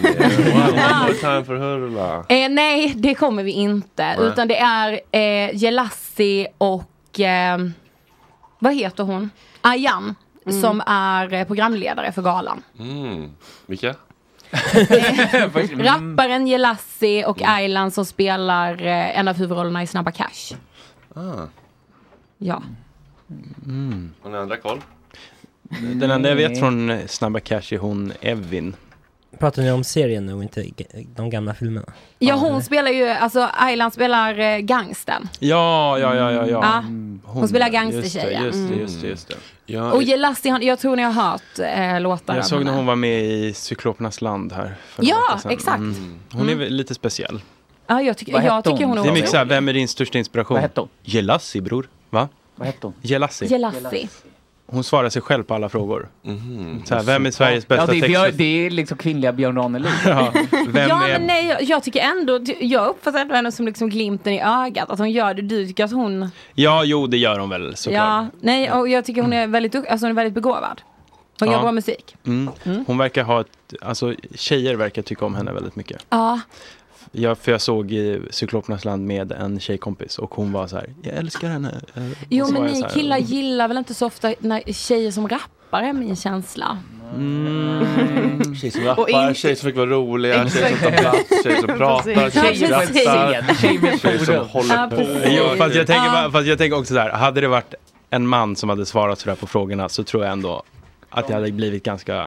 [SPEAKER 1] Wow, one more time for Hurula.
[SPEAKER 8] Eh, nej, det kommer vi inte.
[SPEAKER 1] Nej.
[SPEAKER 8] Utan det är eh, Jelassi och eh, vad heter hon? Ayan. Som är eh, programledare för galan.
[SPEAKER 1] Mm. Vilka?
[SPEAKER 8] Rapparen Jelassi och Aylan som spelar eh, en av huvudrollerna i Snabba Cash.
[SPEAKER 1] Ah.
[SPEAKER 8] Ja.
[SPEAKER 2] Mm.
[SPEAKER 1] Har ni andra koll?
[SPEAKER 2] Den enda jag vet från eh, Snabba Cash är hon Evin.
[SPEAKER 1] Mm.
[SPEAKER 9] Pratar ni om serien nu och inte g- de gamla filmerna?
[SPEAKER 8] Ja hon spelar ju, alltså Aylan spelar eh, gangsten.
[SPEAKER 2] Ja, ja, ja, ja.
[SPEAKER 8] Ja.
[SPEAKER 2] Mm. ja.
[SPEAKER 8] Mm. Hon spelar
[SPEAKER 2] Just
[SPEAKER 8] gangstertjejen.
[SPEAKER 2] det, just det,
[SPEAKER 8] Mm.
[SPEAKER 2] just det. Just det.
[SPEAKER 8] Och Jelassi, han- jag tror ni har hört eh, låtar
[SPEAKER 2] jag
[SPEAKER 8] av
[SPEAKER 2] såg
[SPEAKER 8] henne.
[SPEAKER 2] när hon var med i Cyklopernas land här. för
[SPEAKER 8] Ja,
[SPEAKER 2] några veckor sedan. Mm.
[SPEAKER 8] exakt.
[SPEAKER 2] Hon är väl lite speciell.
[SPEAKER 8] Ja, jag, tycker, jag tycker hon
[SPEAKER 2] Det är mycket
[SPEAKER 8] otrolig.
[SPEAKER 2] såhär, vem är din största inspiration?
[SPEAKER 8] Vad
[SPEAKER 2] hette hon? Jelassi, bror. Va?
[SPEAKER 5] Vad hette hon?
[SPEAKER 2] Jelassi.
[SPEAKER 8] Jelassi.
[SPEAKER 2] Hon svarar sig själv på alla frågor. Så här, vem är Sveriges bästa
[SPEAKER 5] Mhm. ja, det, är Björn,
[SPEAKER 2] Texas?
[SPEAKER 5] det är liksom kvinnliga Björn Ranelid.
[SPEAKER 2] Ja, vem
[SPEAKER 8] ja,
[SPEAKER 2] är...
[SPEAKER 8] men nej, jag, jag tycker ändå, jag uppfattar ändå henne som liksom glimten i ögat. Att hon gör det, du tycker att hon...
[SPEAKER 2] ja, jo, det gör hon väl såklart.
[SPEAKER 8] Ja, nej, och jag tycker hon är väldigt, dukt- alltså hon är väldigt begåvad. Hon gör
[SPEAKER 2] Ja.
[SPEAKER 8] bra musik.
[SPEAKER 2] Mm.
[SPEAKER 8] Mm.
[SPEAKER 2] Hon verkar ha ett, alltså tjejer verkar tycka om henne väldigt mycket.
[SPEAKER 8] Ja,
[SPEAKER 2] Jag, för jag såg i Cyklopernas land med en tjejkompis och hon var så här, jag älskar henne. Eh,
[SPEAKER 8] jo
[SPEAKER 2] och så
[SPEAKER 8] men
[SPEAKER 2] var jag
[SPEAKER 8] ni
[SPEAKER 2] så här,
[SPEAKER 8] killar gillar väl inte så ofta när tjejer som rappar är min känsla.
[SPEAKER 2] Mm.
[SPEAKER 1] Tjejer som
[SPEAKER 8] Och
[SPEAKER 1] rappar,
[SPEAKER 8] inte-
[SPEAKER 1] tjejer som fick vara roliga, tjejer som tar
[SPEAKER 8] Exakt.
[SPEAKER 1] plats, tjejer som pratar,
[SPEAKER 8] Precis.
[SPEAKER 1] tjejer som
[SPEAKER 8] Tjejer på
[SPEAKER 1] skrattar,
[SPEAKER 8] scen. Tjejer med
[SPEAKER 1] tjejer som
[SPEAKER 8] forum.
[SPEAKER 1] håller
[SPEAKER 8] Ja,
[SPEAKER 1] på.
[SPEAKER 8] precis.
[SPEAKER 2] Jo, fast jag, tänker,
[SPEAKER 8] Ja.
[SPEAKER 2] bara- fast jag tänker också så här, hade det varit en man som hade svarat sådär på frågorna så tror jag ändå att jag hade blivit ganska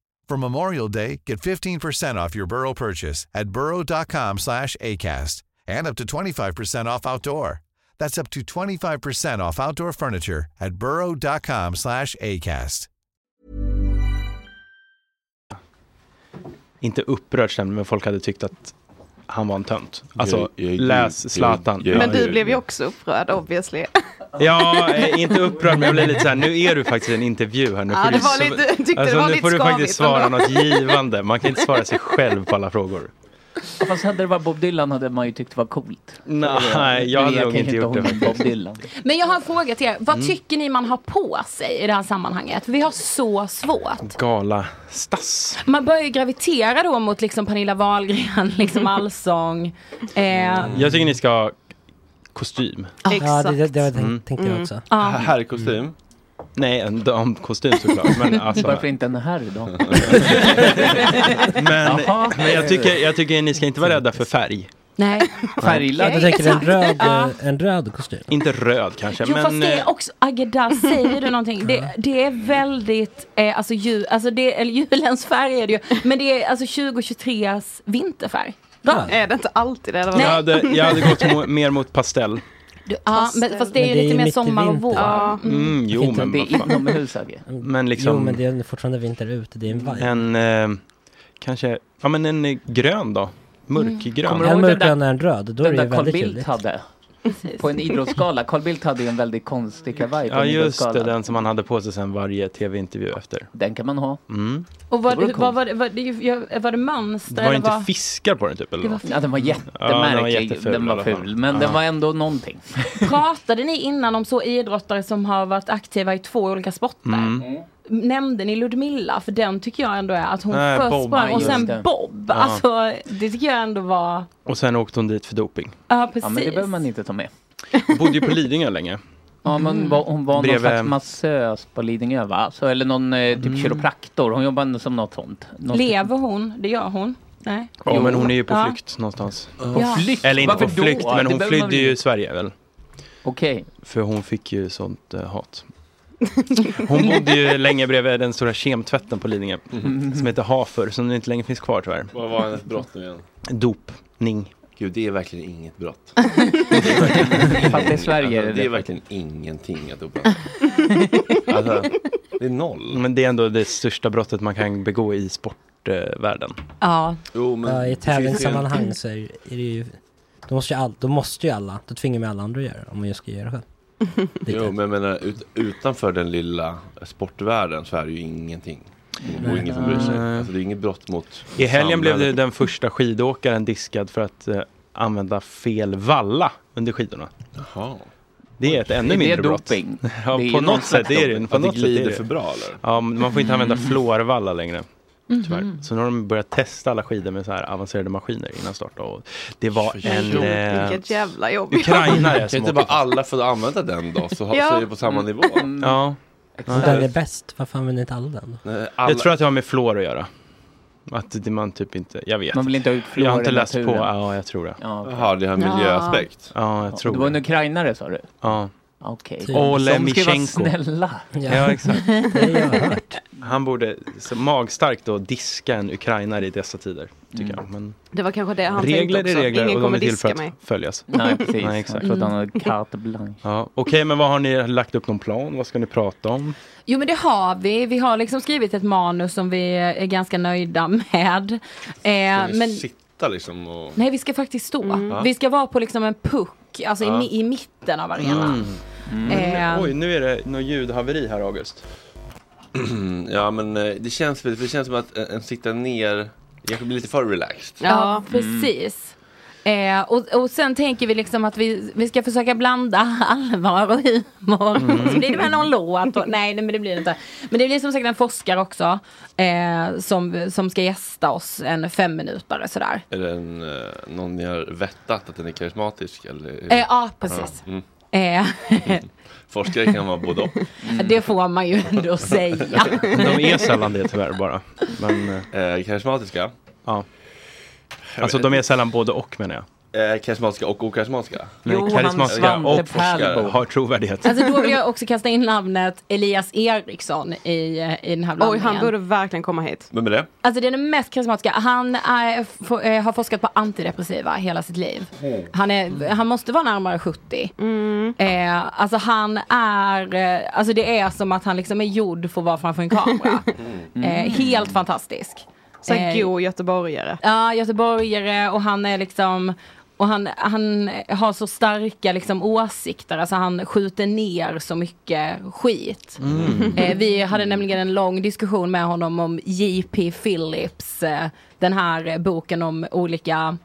[SPEAKER 11] For Memorial Day, get 15% off your Burrow purchase at burrow.com/acast and up to 25% off outdoor. That's up to 25% off outdoor furniture at burrow.com/acast.
[SPEAKER 2] inte upprörd stämning, men folk hade tyckt att han var en tönt. Alltså,
[SPEAKER 1] Jag- jag-
[SPEAKER 2] läs
[SPEAKER 1] jag-
[SPEAKER 2] Zlatan.
[SPEAKER 1] jag-
[SPEAKER 6] Men du blev ju också upprörd obviously.
[SPEAKER 2] Ja, eh, inte upprörd, men jag blev lite så här, nu är du faktiskt i en intervju här. Nu
[SPEAKER 6] Ja,
[SPEAKER 2] får
[SPEAKER 6] det
[SPEAKER 2] du
[SPEAKER 6] var
[SPEAKER 2] sv- alltså,
[SPEAKER 6] lite- jag tyckte det var
[SPEAKER 2] nu
[SPEAKER 6] lite
[SPEAKER 2] får du faktiskt
[SPEAKER 6] skavigt
[SPEAKER 2] svara
[SPEAKER 6] ändå.
[SPEAKER 2] något givande. Man kan inte svara sig själv på alla frågor.
[SPEAKER 5] Fast hade det varit Bob Dylan hade man ju tyckt det var coolt.
[SPEAKER 2] Nej, jag hade nog
[SPEAKER 5] kan
[SPEAKER 2] inte gjort det
[SPEAKER 5] hålla med Bob
[SPEAKER 2] faktiskt.
[SPEAKER 5] Dylan.
[SPEAKER 8] Men jag har en fråga till er. Vad
[SPEAKER 2] Mm.
[SPEAKER 8] tycker ni man har på sig i det här sammanhanget? För vi har så svårt.
[SPEAKER 2] Gala-stass.
[SPEAKER 8] Man börjar ju gravitera då mot liksom Pernilla Wahlgren, liksom allsång. Eh,
[SPEAKER 6] Mm.
[SPEAKER 2] Jag tycker ni ska ha kostym.
[SPEAKER 8] Ja, Exakt.
[SPEAKER 1] Mm.
[SPEAKER 8] Mm.
[SPEAKER 9] det- det- det tänkte jag också.
[SPEAKER 1] Herrkostym.
[SPEAKER 2] Mm. Nej, en damkostym såklart. Men alltså,
[SPEAKER 5] Varför inte en herr då?
[SPEAKER 2] men,
[SPEAKER 5] Jaha.
[SPEAKER 2] men jag, tycker, jag tycker ni ska inte vara rädda för färg.
[SPEAKER 8] Nej.
[SPEAKER 2] Färglad.
[SPEAKER 8] Okej.
[SPEAKER 2] Du tänker en röd,
[SPEAKER 8] Ja.
[SPEAKER 7] eh,
[SPEAKER 2] En röd kostym? Inte röd kanske,
[SPEAKER 8] Jo
[SPEAKER 2] men...
[SPEAKER 8] fast det
[SPEAKER 2] eh,
[SPEAKER 8] är också, Agda säger du någonting? Det, det är väldigt, eh, alltså, jul, alltså det, eller julens färg är det ju, men det är alltså 2023s vinterfärg. Bra.
[SPEAKER 6] Är det inte alltid det? Eller
[SPEAKER 2] jag, hade, jag hade gått mo- mer mot pastell.
[SPEAKER 8] Ja, men, fast det är
[SPEAKER 9] Men
[SPEAKER 8] ju
[SPEAKER 9] det är
[SPEAKER 8] lite
[SPEAKER 9] ju
[SPEAKER 8] mer
[SPEAKER 9] mitt i
[SPEAKER 8] sommar och
[SPEAKER 9] vintern.
[SPEAKER 8] vår.
[SPEAKER 9] Ja.
[SPEAKER 2] Mm, jo,
[SPEAKER 9] Inte-
[SPEAKER 2] men
[SPEAKER 9] det är
[SPEAKER 2] vad fan.
[SPEAKER 9] inomhus,
[SPEAKER 2] Men liksom...
[SPEAKER 9] Jo, men det är fortfarande vinter ute. Det är en vibe.
[SPEAKER 2] En, eh, kanske, ja men en eh, grön då.
[SPEAKER 8] Mm.
[SPEAKER 2] Mörkgrön.
[SPEAKER 9] Kommer du En ihåg den mörkgrön där- och en röd, då
[SPEAKER 5] den
[SPEAKER 9] är det ju
[SPEAKER 5] där Carl
[SPEAKER 9] väldigt
[SPEAKER 5] Bildt
[SPEAKER 9] ljuvligt.
[SPEAKER 5] hade. På en idrottsgala. Carl Bildt hade ju en väldigt konstig kavaj på
[SPEAKER 2] Ja
[SPEAKER 5] en
[SPEAKER 2] just det,
[SPEAKER 5] idrottsgala.
[SPEAKER 2] den som han hade på sig sen varje tv-intervju efter.
[SPEAKER 5] Den kan man ha.
[SPEAKER 2] Mm.
[SPEAKER 8] Och var
[SPEAKER 5] Det vore
[SPEAKER 8] det, var, var, det- var, det, ju- jag- var det mönster?
[SPEAKER 2] Det var
[SPEAKER 8] eller
[SPEAKER 2] inte
[SPEAKER 8] vad?
[SPEAKER 2] fiskar på den typ eller
[SPEAKER 8] Det var
[SPEAKER 2] något?
[SPEAKER 8] ful. Ja, den var
[SPEAKER 5] jättemärklig. Den var
[SPEAKER 2] i alla fall.
[SPEAKER 5] ful, men den
[SPEAKER 2] Ja.
[SPEAKER 5] var ändå någonting.
[SPEAKER 8] Pratade ni innan om så idrottare som har varit aktiva i två olika sporter?
[SPEAKER 5] Mm.
[SPEAKER 8] Nämnde ni Ludmilla? För den tycker jag ändå är att hon
[SPEAKER 2] Nej,
[SPEAKER 8] först
[SPEAKER 2] Bob.
[SPEAKER 8] sprang och
[SPEAKER 2] Ja,
[SPEAKER 8] sen
[SPEAKER 2] just det.
[SPEAKER 8] Bob.
[SPEAKER 2] Ja.
[SPEAKER 8] Alltså det tycker jag ändå var...
[SPEAKER 2] Och sen åkte hon dit för doping.
[SPEAKER 8] Ja precis.
[SPEAKER 5] man inte ta med.
[SPEAKER 2] Hon bodde ju på Lidingö länge.
[SPEAKER 5] Ja,
[SPEAKER 8] Mm.
[SPEAKER 5] men var, hon var
[SPEAKER 2] Bredvid-
[SPEAKER 5] någon slags massös på Lidingö va? Så, eller någon eh,
[SPEAKER 2] Mm.
[SPEAKER 5] typ kiropraktor. Hon jobbade som något sånt. Någon
[SPEAKER 8] Lever hon? Det gör hon? Nej.
[SPEAKER 2] Ja men hon är ju på
[SPEAKER 8] Ja.
[SPEAKER 2] flykt någonstans.
[SPEAKER 8] På Ja. flykt?
[SPEAKER 2] Eller inte
[SPEAKER 5] Varför
[SPEAKER 2] på
[SPEAKER 5] då?
[SPEAKER 2] flykt,
[SPEAKER 5] Det
[SPEAKER 2] men hon
[SPEAKER 5] behöver man
[SPEAKER 2] flydde
[SPEAKER 5] väl
[SPEAKER 2] ju
[SPEAKER 5] inte?
[SPEAKER 2] Sverige väl.
[SPEAKER 5] Okej.
[SPEAKER 2] För hon fick ju sånt eh, hat. Hon bodde ju länge bredvid den stora kemtvätten på Lidingö.
[SPEAKER 8] Mm.
[SPEAKER 2] Som heter Hafer, som nu inte längre finns kvar tyvärr.
[SPEAKER 1] Vad var hennes brott nu igen?
[SPEAKER 2] Dopning.
[SPEAKER 1] Gud, det är verkligen inget brott.
[SPEAKER 5] Fast i Sverige är det
[SPEAKER 1] Alltså, det är
[SPEAKER 5] det.
[SPEAKER 1] verkligen ingenting att dopa. Alltså, det är noll.
[SPEAKER 9] Mm.
[SPEAKER 2] Men det är ändå det största brottet man kan begå i sportvärlden.
[SPEAKER 8] Ja.
[SPEAKER 1] Jo,
[SPEAKER 9] ja, I tävlingssammanhang så är är det ju... Då måste ju, all, då måste ju alla, då tvingar man alla andra att göra det om man just ska göra det själv.
[SPEAKER 1] Jo, men jag menar, ut, utanför den lilla sportvärlden så är det ju ingenting. Och ingen som bryr sig.
[SPEAKER 2] Nej.
[SPEAKER 1] Alltså, det är inget brott mot
[SPEAKER 2] I helgen blev det
[SPEAKER 1] samhället.
[SPEAKER 2] den första skidåkaren diskad för att eh, använda fel valla under skidorna. Det är ett ännu
[SPEAKER 1] Är det
[SPEAKER 2] mindre brott.
[SPEAKER 1] doping?
[SPEAKER 2] Ja,
[SPEAKER 1] Det är
[SPEAKER 2] på
[SPEAKER 1] någon
[SPEAKER 2] något sätt
[SPEAKER 1] slags
[SPEAKER 2] är det
[SPEAKER 1] doping.
[SPEAKER 2] på
[SPEAKER 1] Att det
[SPEAKER 2] något sätt är
[SPEAKER 1] glider
[SPEAKER 2] det.
[SPEAKER 1] för bra, eller?
[SPEAKER 2] Ja, men man får inte använda
[SPEAKER 1] Mhm.
[SPEAKER 2] fluorvalla längre. Tyvärr.
[SPEAKER 1] Mhm.
[SPEAKER 2] Så nu har de börjat testa alla skidor med så här avancerade maskiner innan start. Och det var
[SPEAKER 1] Oj,
[SPEAKER 2] en...
[SPEAKER 1] oj,
[SPEAKER 2] eh,
[SPEAKER 6] Vilket jävla jobb.
[SPEAKER 2] Ukrainare
[SPEAKER 1] Kan
[SPEAKER 2] som
[SPEAKER 1] inte bara alla få använda den då? Så, har-
[SPEAKER 6] Ja.
[SPEAKER 1] så är det på
[SPEAKER 5] Mm.
[SPEAKER 1] samma nivå.
[SPEAKER 2] Ja.
[SPEAKER 9] Om den är bäst, varför använder inte alla den? då?
[SPEAKER 2] Jag tror att det har med fluor att göra. Att det man typ inte, jag vet
[SPEAKER 5] Man vill inte ha ut
[SPEAKER 2] Jag har
[SPEAKER 5] fluor
[SPEAKER 2] inte
[SPEAKER 5] i
[SPEAKER 2] läst på,
[SPEAKER 5] naturen.
[SPEAKER 2] ja jag tror det.
[SPEAKER 5] Ja, okej.
[SPEAKER 1] Jaha, det har en
[SPEAKER 5] Ja.
[SPEAKER 1] miljöaspekt.
[SPEAKER 2] Ja, jag tror
[SPEAKER 5] Det var en
[SPEAKER 2] det.
[SPEAKER 5] ukrainare sa du?
[SPEAKER 2] Ja.
[SPEAKER 5] Okej.
[SPEAKER 2] Typ. Ole
[SPEAKER 5] Som ska vara
[SPEAKER 2] Michenko.
[SPEAKER 5] snälla.
[SPEAKER 2] Ja, exakt. Han borde så magstarkt då diska en ukrainare i dessa tider,
[SPEAKER 5] Mm.
[SPEAKER 2] tycker jag. Men
[SPEAKER 6] Det var kanske det han tänkte
[SPEAKER 2] regler
[SPEAKER 6] också.
[SPEAKER 2] är regler
[SPEAKER 6] Ingen
[SPEAKER 2] och de
[SPEAKER 6] kommer
[SPEAKER 2] är till
[SPEAKER 6] diska
[SPEAKER 2] för att
[SPEAKER 6] mig.
[SPEAKER 2] följas.
[SPEAKER 5] Nej, precis.
[SPEAKER 2] Nej, exakt.
[SPEAKER 5] Jag trodde han hade carte blanche.
[SPEAKER 2] Ja, Okej, men vad har ni lagt upp någon plan? Vad ska ni prata om?
[SPEAKER 8] Jo men det har vi. Vi har liksom skrivit ett manus som vi är ganska nöjda med. Eh,
[SPEAKER 1] Ska vi
[SPEAKER 8] men,
[SPEAKER 1] sitta liksom och...
[SPEAKER 8] nej vi ska faktiskt stå.
[SPEAKER 1] Mm.
[SPEAKER 8] Vi ska vara på liksom en puck, alltså
[SPEAKER 2] Ja.
[SPEAKER 8] i, mi- i mitten av arenan.
[SPEAKER 2] Mm.
[SPEAKER 8] Eh.
[SPEAKER 2] Oj, nu är det något ljudhaveri här, August.
[SPEAKER 1] ja, men eh, det känns, väl- det känns som att en, en sitta ner, jag blir lite för relaxed.
[SPEAKER 8] Ja, precis. Eh, och, och sen tänker vi liksom att vi, vi ska försöka blanda allvar och humor.
[SPEAKER 6] Mm.
[SPEAKER 8] Så blir det väl någon låt. Och, nej, nej, men det blir det inte. Men det blir som sagt en forskare också. Eh, som, som ska gästa oss en fem minuter sådär.
[SPEAKER 1] Är det en, eh, någon ni har vettat att den är karismatisk? Eller?
[SPEAKER 8] Eh, ja, precis.
[SPEAKER 1] Ja, mm.
[SPEAKER 8] Eh,
[SPEAKER 1] Forskare kan vara både och.
[SPEAKER 8] Det får man ju ändå säga.
[SPEAKER 2] De är sällan det tyvärr bara. Men,
[SPEAKER 1] eh, karismatiska?
[SPEAKER 2] Ja. Alltså de är sällan både och menar jag.
[SPEAKER 1] Eh, karismatiska och okarismatiska?
[SPEAKER 2] Nej,
[SPEAKER 1] Johan
[SPEAKER 2] karismatiska
[SPEAKER 1] Svante
[SPEAKER 2] och forskare
[SPEAKER 1] Pärlbo.
[SPEAKER 2] har trovärdighet.
[SPEAKER 8] Alltså då vill jag också kasta in namnet Elias Eriksson i, eh, i den här blandningen.
[SPEAKER 6] Oj, han borde verkligen komma hit.
[SPEAKER 1] Vem är det?
[SPEAKER 8] Alltså det är den mest karismatiska. Han är, f- eh, har forskat på antidepressiva hela sitt liv. Han, är, han måste vara närmare 70. Eh, alltså han är, eh, alltså det är som att han liksom är gjord för att vara framför en kamera. Eh, helt fantastisk.
[SPEAKER 6] Så här
[SPEAKER 8] Eh,
[SPEAKER 6] god göteborgare.
[SPEAKER 8] Ja, göteborgare och han är liksom och han, han har så starka liksom, åsikter, alltså han skjuter ner så mycket skit.
[SPEAKER 6] Mm.
[SPEAKER 8] Eh, vi hade nämligen en lång diskussion med honom om J.P. Phillips, eh, den här eh, boken om olika,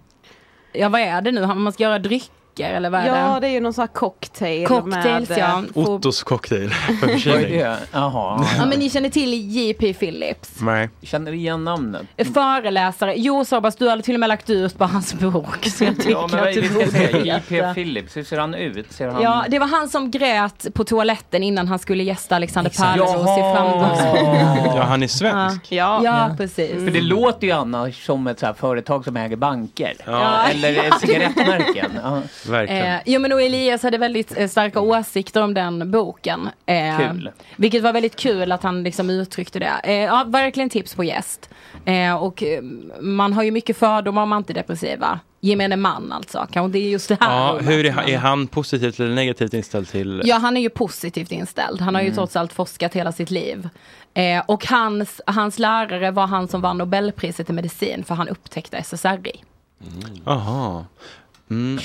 [SPEAKER 8] ja vad är det nu, Han- man ska göra drycker drycker eller vad är
[SPEAKER 6] Ja,
[SPEAKER 8] det?
[SPEAKER 6] det är ju någon sån här cocktail.
[SPEAKER 8] Cocktails,
[SPEAKER 6] med,
[SPEAKER 8] ja.
[SPEAKER 2] Ottos cocktail. För
[SPEAKER 5] Vad är
[SPEAKER 2] försäljning.
[SPEAKER 5] det? Jaha.
[SPEAKER 8] Ja men ni känner till JP Phillips. eh,
[SPEAKER 2] Nej.
[SPEAKER 5] Känner igen namnet.
[SPEAKER 8] Föreläsare. Jo Sorbas, du hade till och med lagt ut på hans bok. Så jag tycker
[SPEAKER 5] Ja, men vad
[SPEAKER 8] att
[SPEAKER 6] typ
[SPEAKER 5] är
[SPEAKER 8] du
[SPEAKER 5] vi ska säga?
[SPEAKER 8] borde
[SPEAKER 5] J.P.
[SPEAKER 8] veta.
[SPEAKER 5] Phillips, hur ser han ut? Ser han...
[SPEAKER 8] Ja, det var han som grät på toaletten innan han skulle gästa Alexander Pärleros i
[SPEAKER 5] Jaha. Alltså.
[SPEAKER 8] Framgångsboken.
[SPEAKER 2] Ja, han är svensk.
[SPEAKER 8] Ja, ja precis.
[SPEAKER 5] För det låter ju annars som ett så här företag som äger banker.
[SPEAKER 8] Ja.
[SPEAKER 5] Eller
[SPEAKER 8] Ja.
[SPEAKER 5] cigarettmärken. Ja.
[SPEAKER 8] Eh, jo men och Elias hade väldigt eh, starka åsikter om den boken. Eh,
[SPEAKER 5] Kul.
[SPEAKER 8] Vilket var väldigt kul att han liksom uttryckte det. Eh, ja, verkligen tips på gäst. Eh, och eh, man har ju mycket fördomar om antidepressiva. Gemene man alltså. Kanske det är just det här.
[SPEAKER 2] Ja, hur är han, är han positivt eller negativt inställd till...
[SPEAKER 8] Ja, han är ju positivt inställd. Han har ju
[SPEAKER 2] Mm.
[SPEAKER 8] trots allt forskat hela sitt liv. Eh, och hans, hans lärare var han som vann Nobelpriset i medicin för han upptäckte SSRI.
[SPEAKER 2] Jaha. Mm.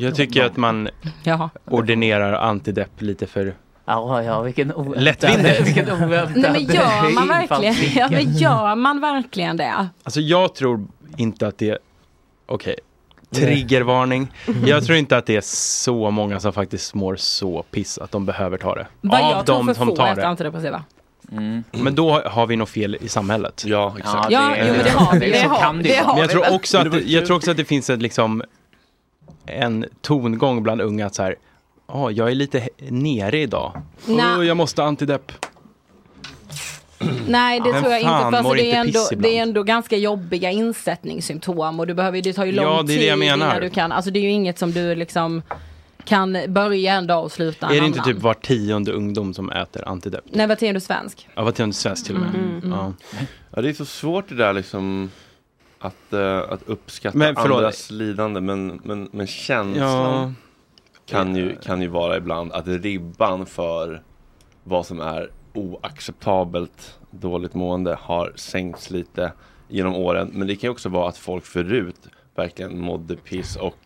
[SPEAKER 2] Jag tycker att man
[SPEAKER 8] Jaha.
[SPEAKER 2] ordinerar antidepp lite för...
[SPEAKER 5] Ja, ja, vilken oväntad...
[SPEAKER 2] Lättvindigt.
[SPEAKER 5] Vilken oväntad
[SPEAKER 8] Nej men gör man verkligen,
[SPEAKER 5] infallsvinkel.
[SPEAKER 8] ja, men gör man verkligen det?
[SPEAKER 2] Alltså jag tror inte att det... Okej. Triggervarning.
[SPEAKER 8] Mm.
[SPEAKER 2] Jag tror inte att det är så många som faktiskt mår så piss att de behöver ta det.
[SPEAKER 8] Vad
[SPEAKER 2] Av
[SPEAKER 8] jag tror
[SPEAKER 2] de
[SPEAKER 8] för
[SPEAKER 2] som
[SPEAKER 8] få
[SPEAKER 2] tar
[SPEAKER 8] efter
[SPEAKER 2] det.
[SPEAKER 8] antidepressiva.
[SPEAKER 2] Men då har vi nog fel i samhället. Ja,
[SPEAKER 5] exakt. Mm. Ja, det- jo, men det har vi. Så kan det ju Det vara. har
[SPEAKER 2] Men jag
[SPEAKER 5] vi
[SPEAKER 2] tror
[SPEAKER 5] väl.
[SPEAKER 2] också
[SPEAKER 5] Men det
[SPEAKER 2] att,
[SPEAKER 5] var
[SPEAKER 2] jag
[SPEAKER 5] kul.
[SPEAKER 2] tror också att det finns en, liksom, en tongång bland unga att så här, "Ah, jag är lite he- nere idag.
[SPEAKER 8] Nej.
[SPEAKER 2] Oh, jag måste antidepp.
[SPEAKER 8] Nej det
[SPEAKER 2] Men
[SPEAKER 8] tror jag inte
[SPEAKER 2] Mm. fan,
[SPEAKER 8] för alltså,
[SPEAKER 2] mår
[SPEAKER 8] det, är
[SPEAKER 2] inte piss
[SPEAKER 8] ändå,
[SPEAKER 2] ibland.
[SPEAKER 8] det är ändå ganska jobbiga insättningssymptom och du behöver, det tar ju lång
[SPEAKER 2] Ja, det är det
[SPEAKER 8] tid
[SPEAKER 2] jag menar.
[SPEAKER 8] innan du kan, alltså det är ju inget som du liksom kan börja en dag och sluta en
[SPEAKER 2] är det inte
[SPEAKER 8] annan.
[SPEAKER 2] typ var tionde ungdom som äter antidepp?
[SPEAKER 8] Nej vad är du svensk?
[SPEAKER 2] Ja, var tionde svensk till och med.
[SPEAKER 8] Mm, mm.
[SPEAKER 2] Ja.
[SPEAKER 1] Ja, det är så svårt det där liksom att, eh, att uppskatta
[SPEAKER 2] Men förlåt.
[SPEAKER 1] andras lidande men, men, men
[SPEAKER 2] Ja.
[SPEAKER 1] känslan kan, ju,
[SPEAKER 5] Eh.
[SPEAKER 1] kan ju vara ibland att ribban för vad som är oacceptabelt dåligt mående har sänkts lite genom åren. Men det kan ju också vara att folk förut verkligen mådde piss och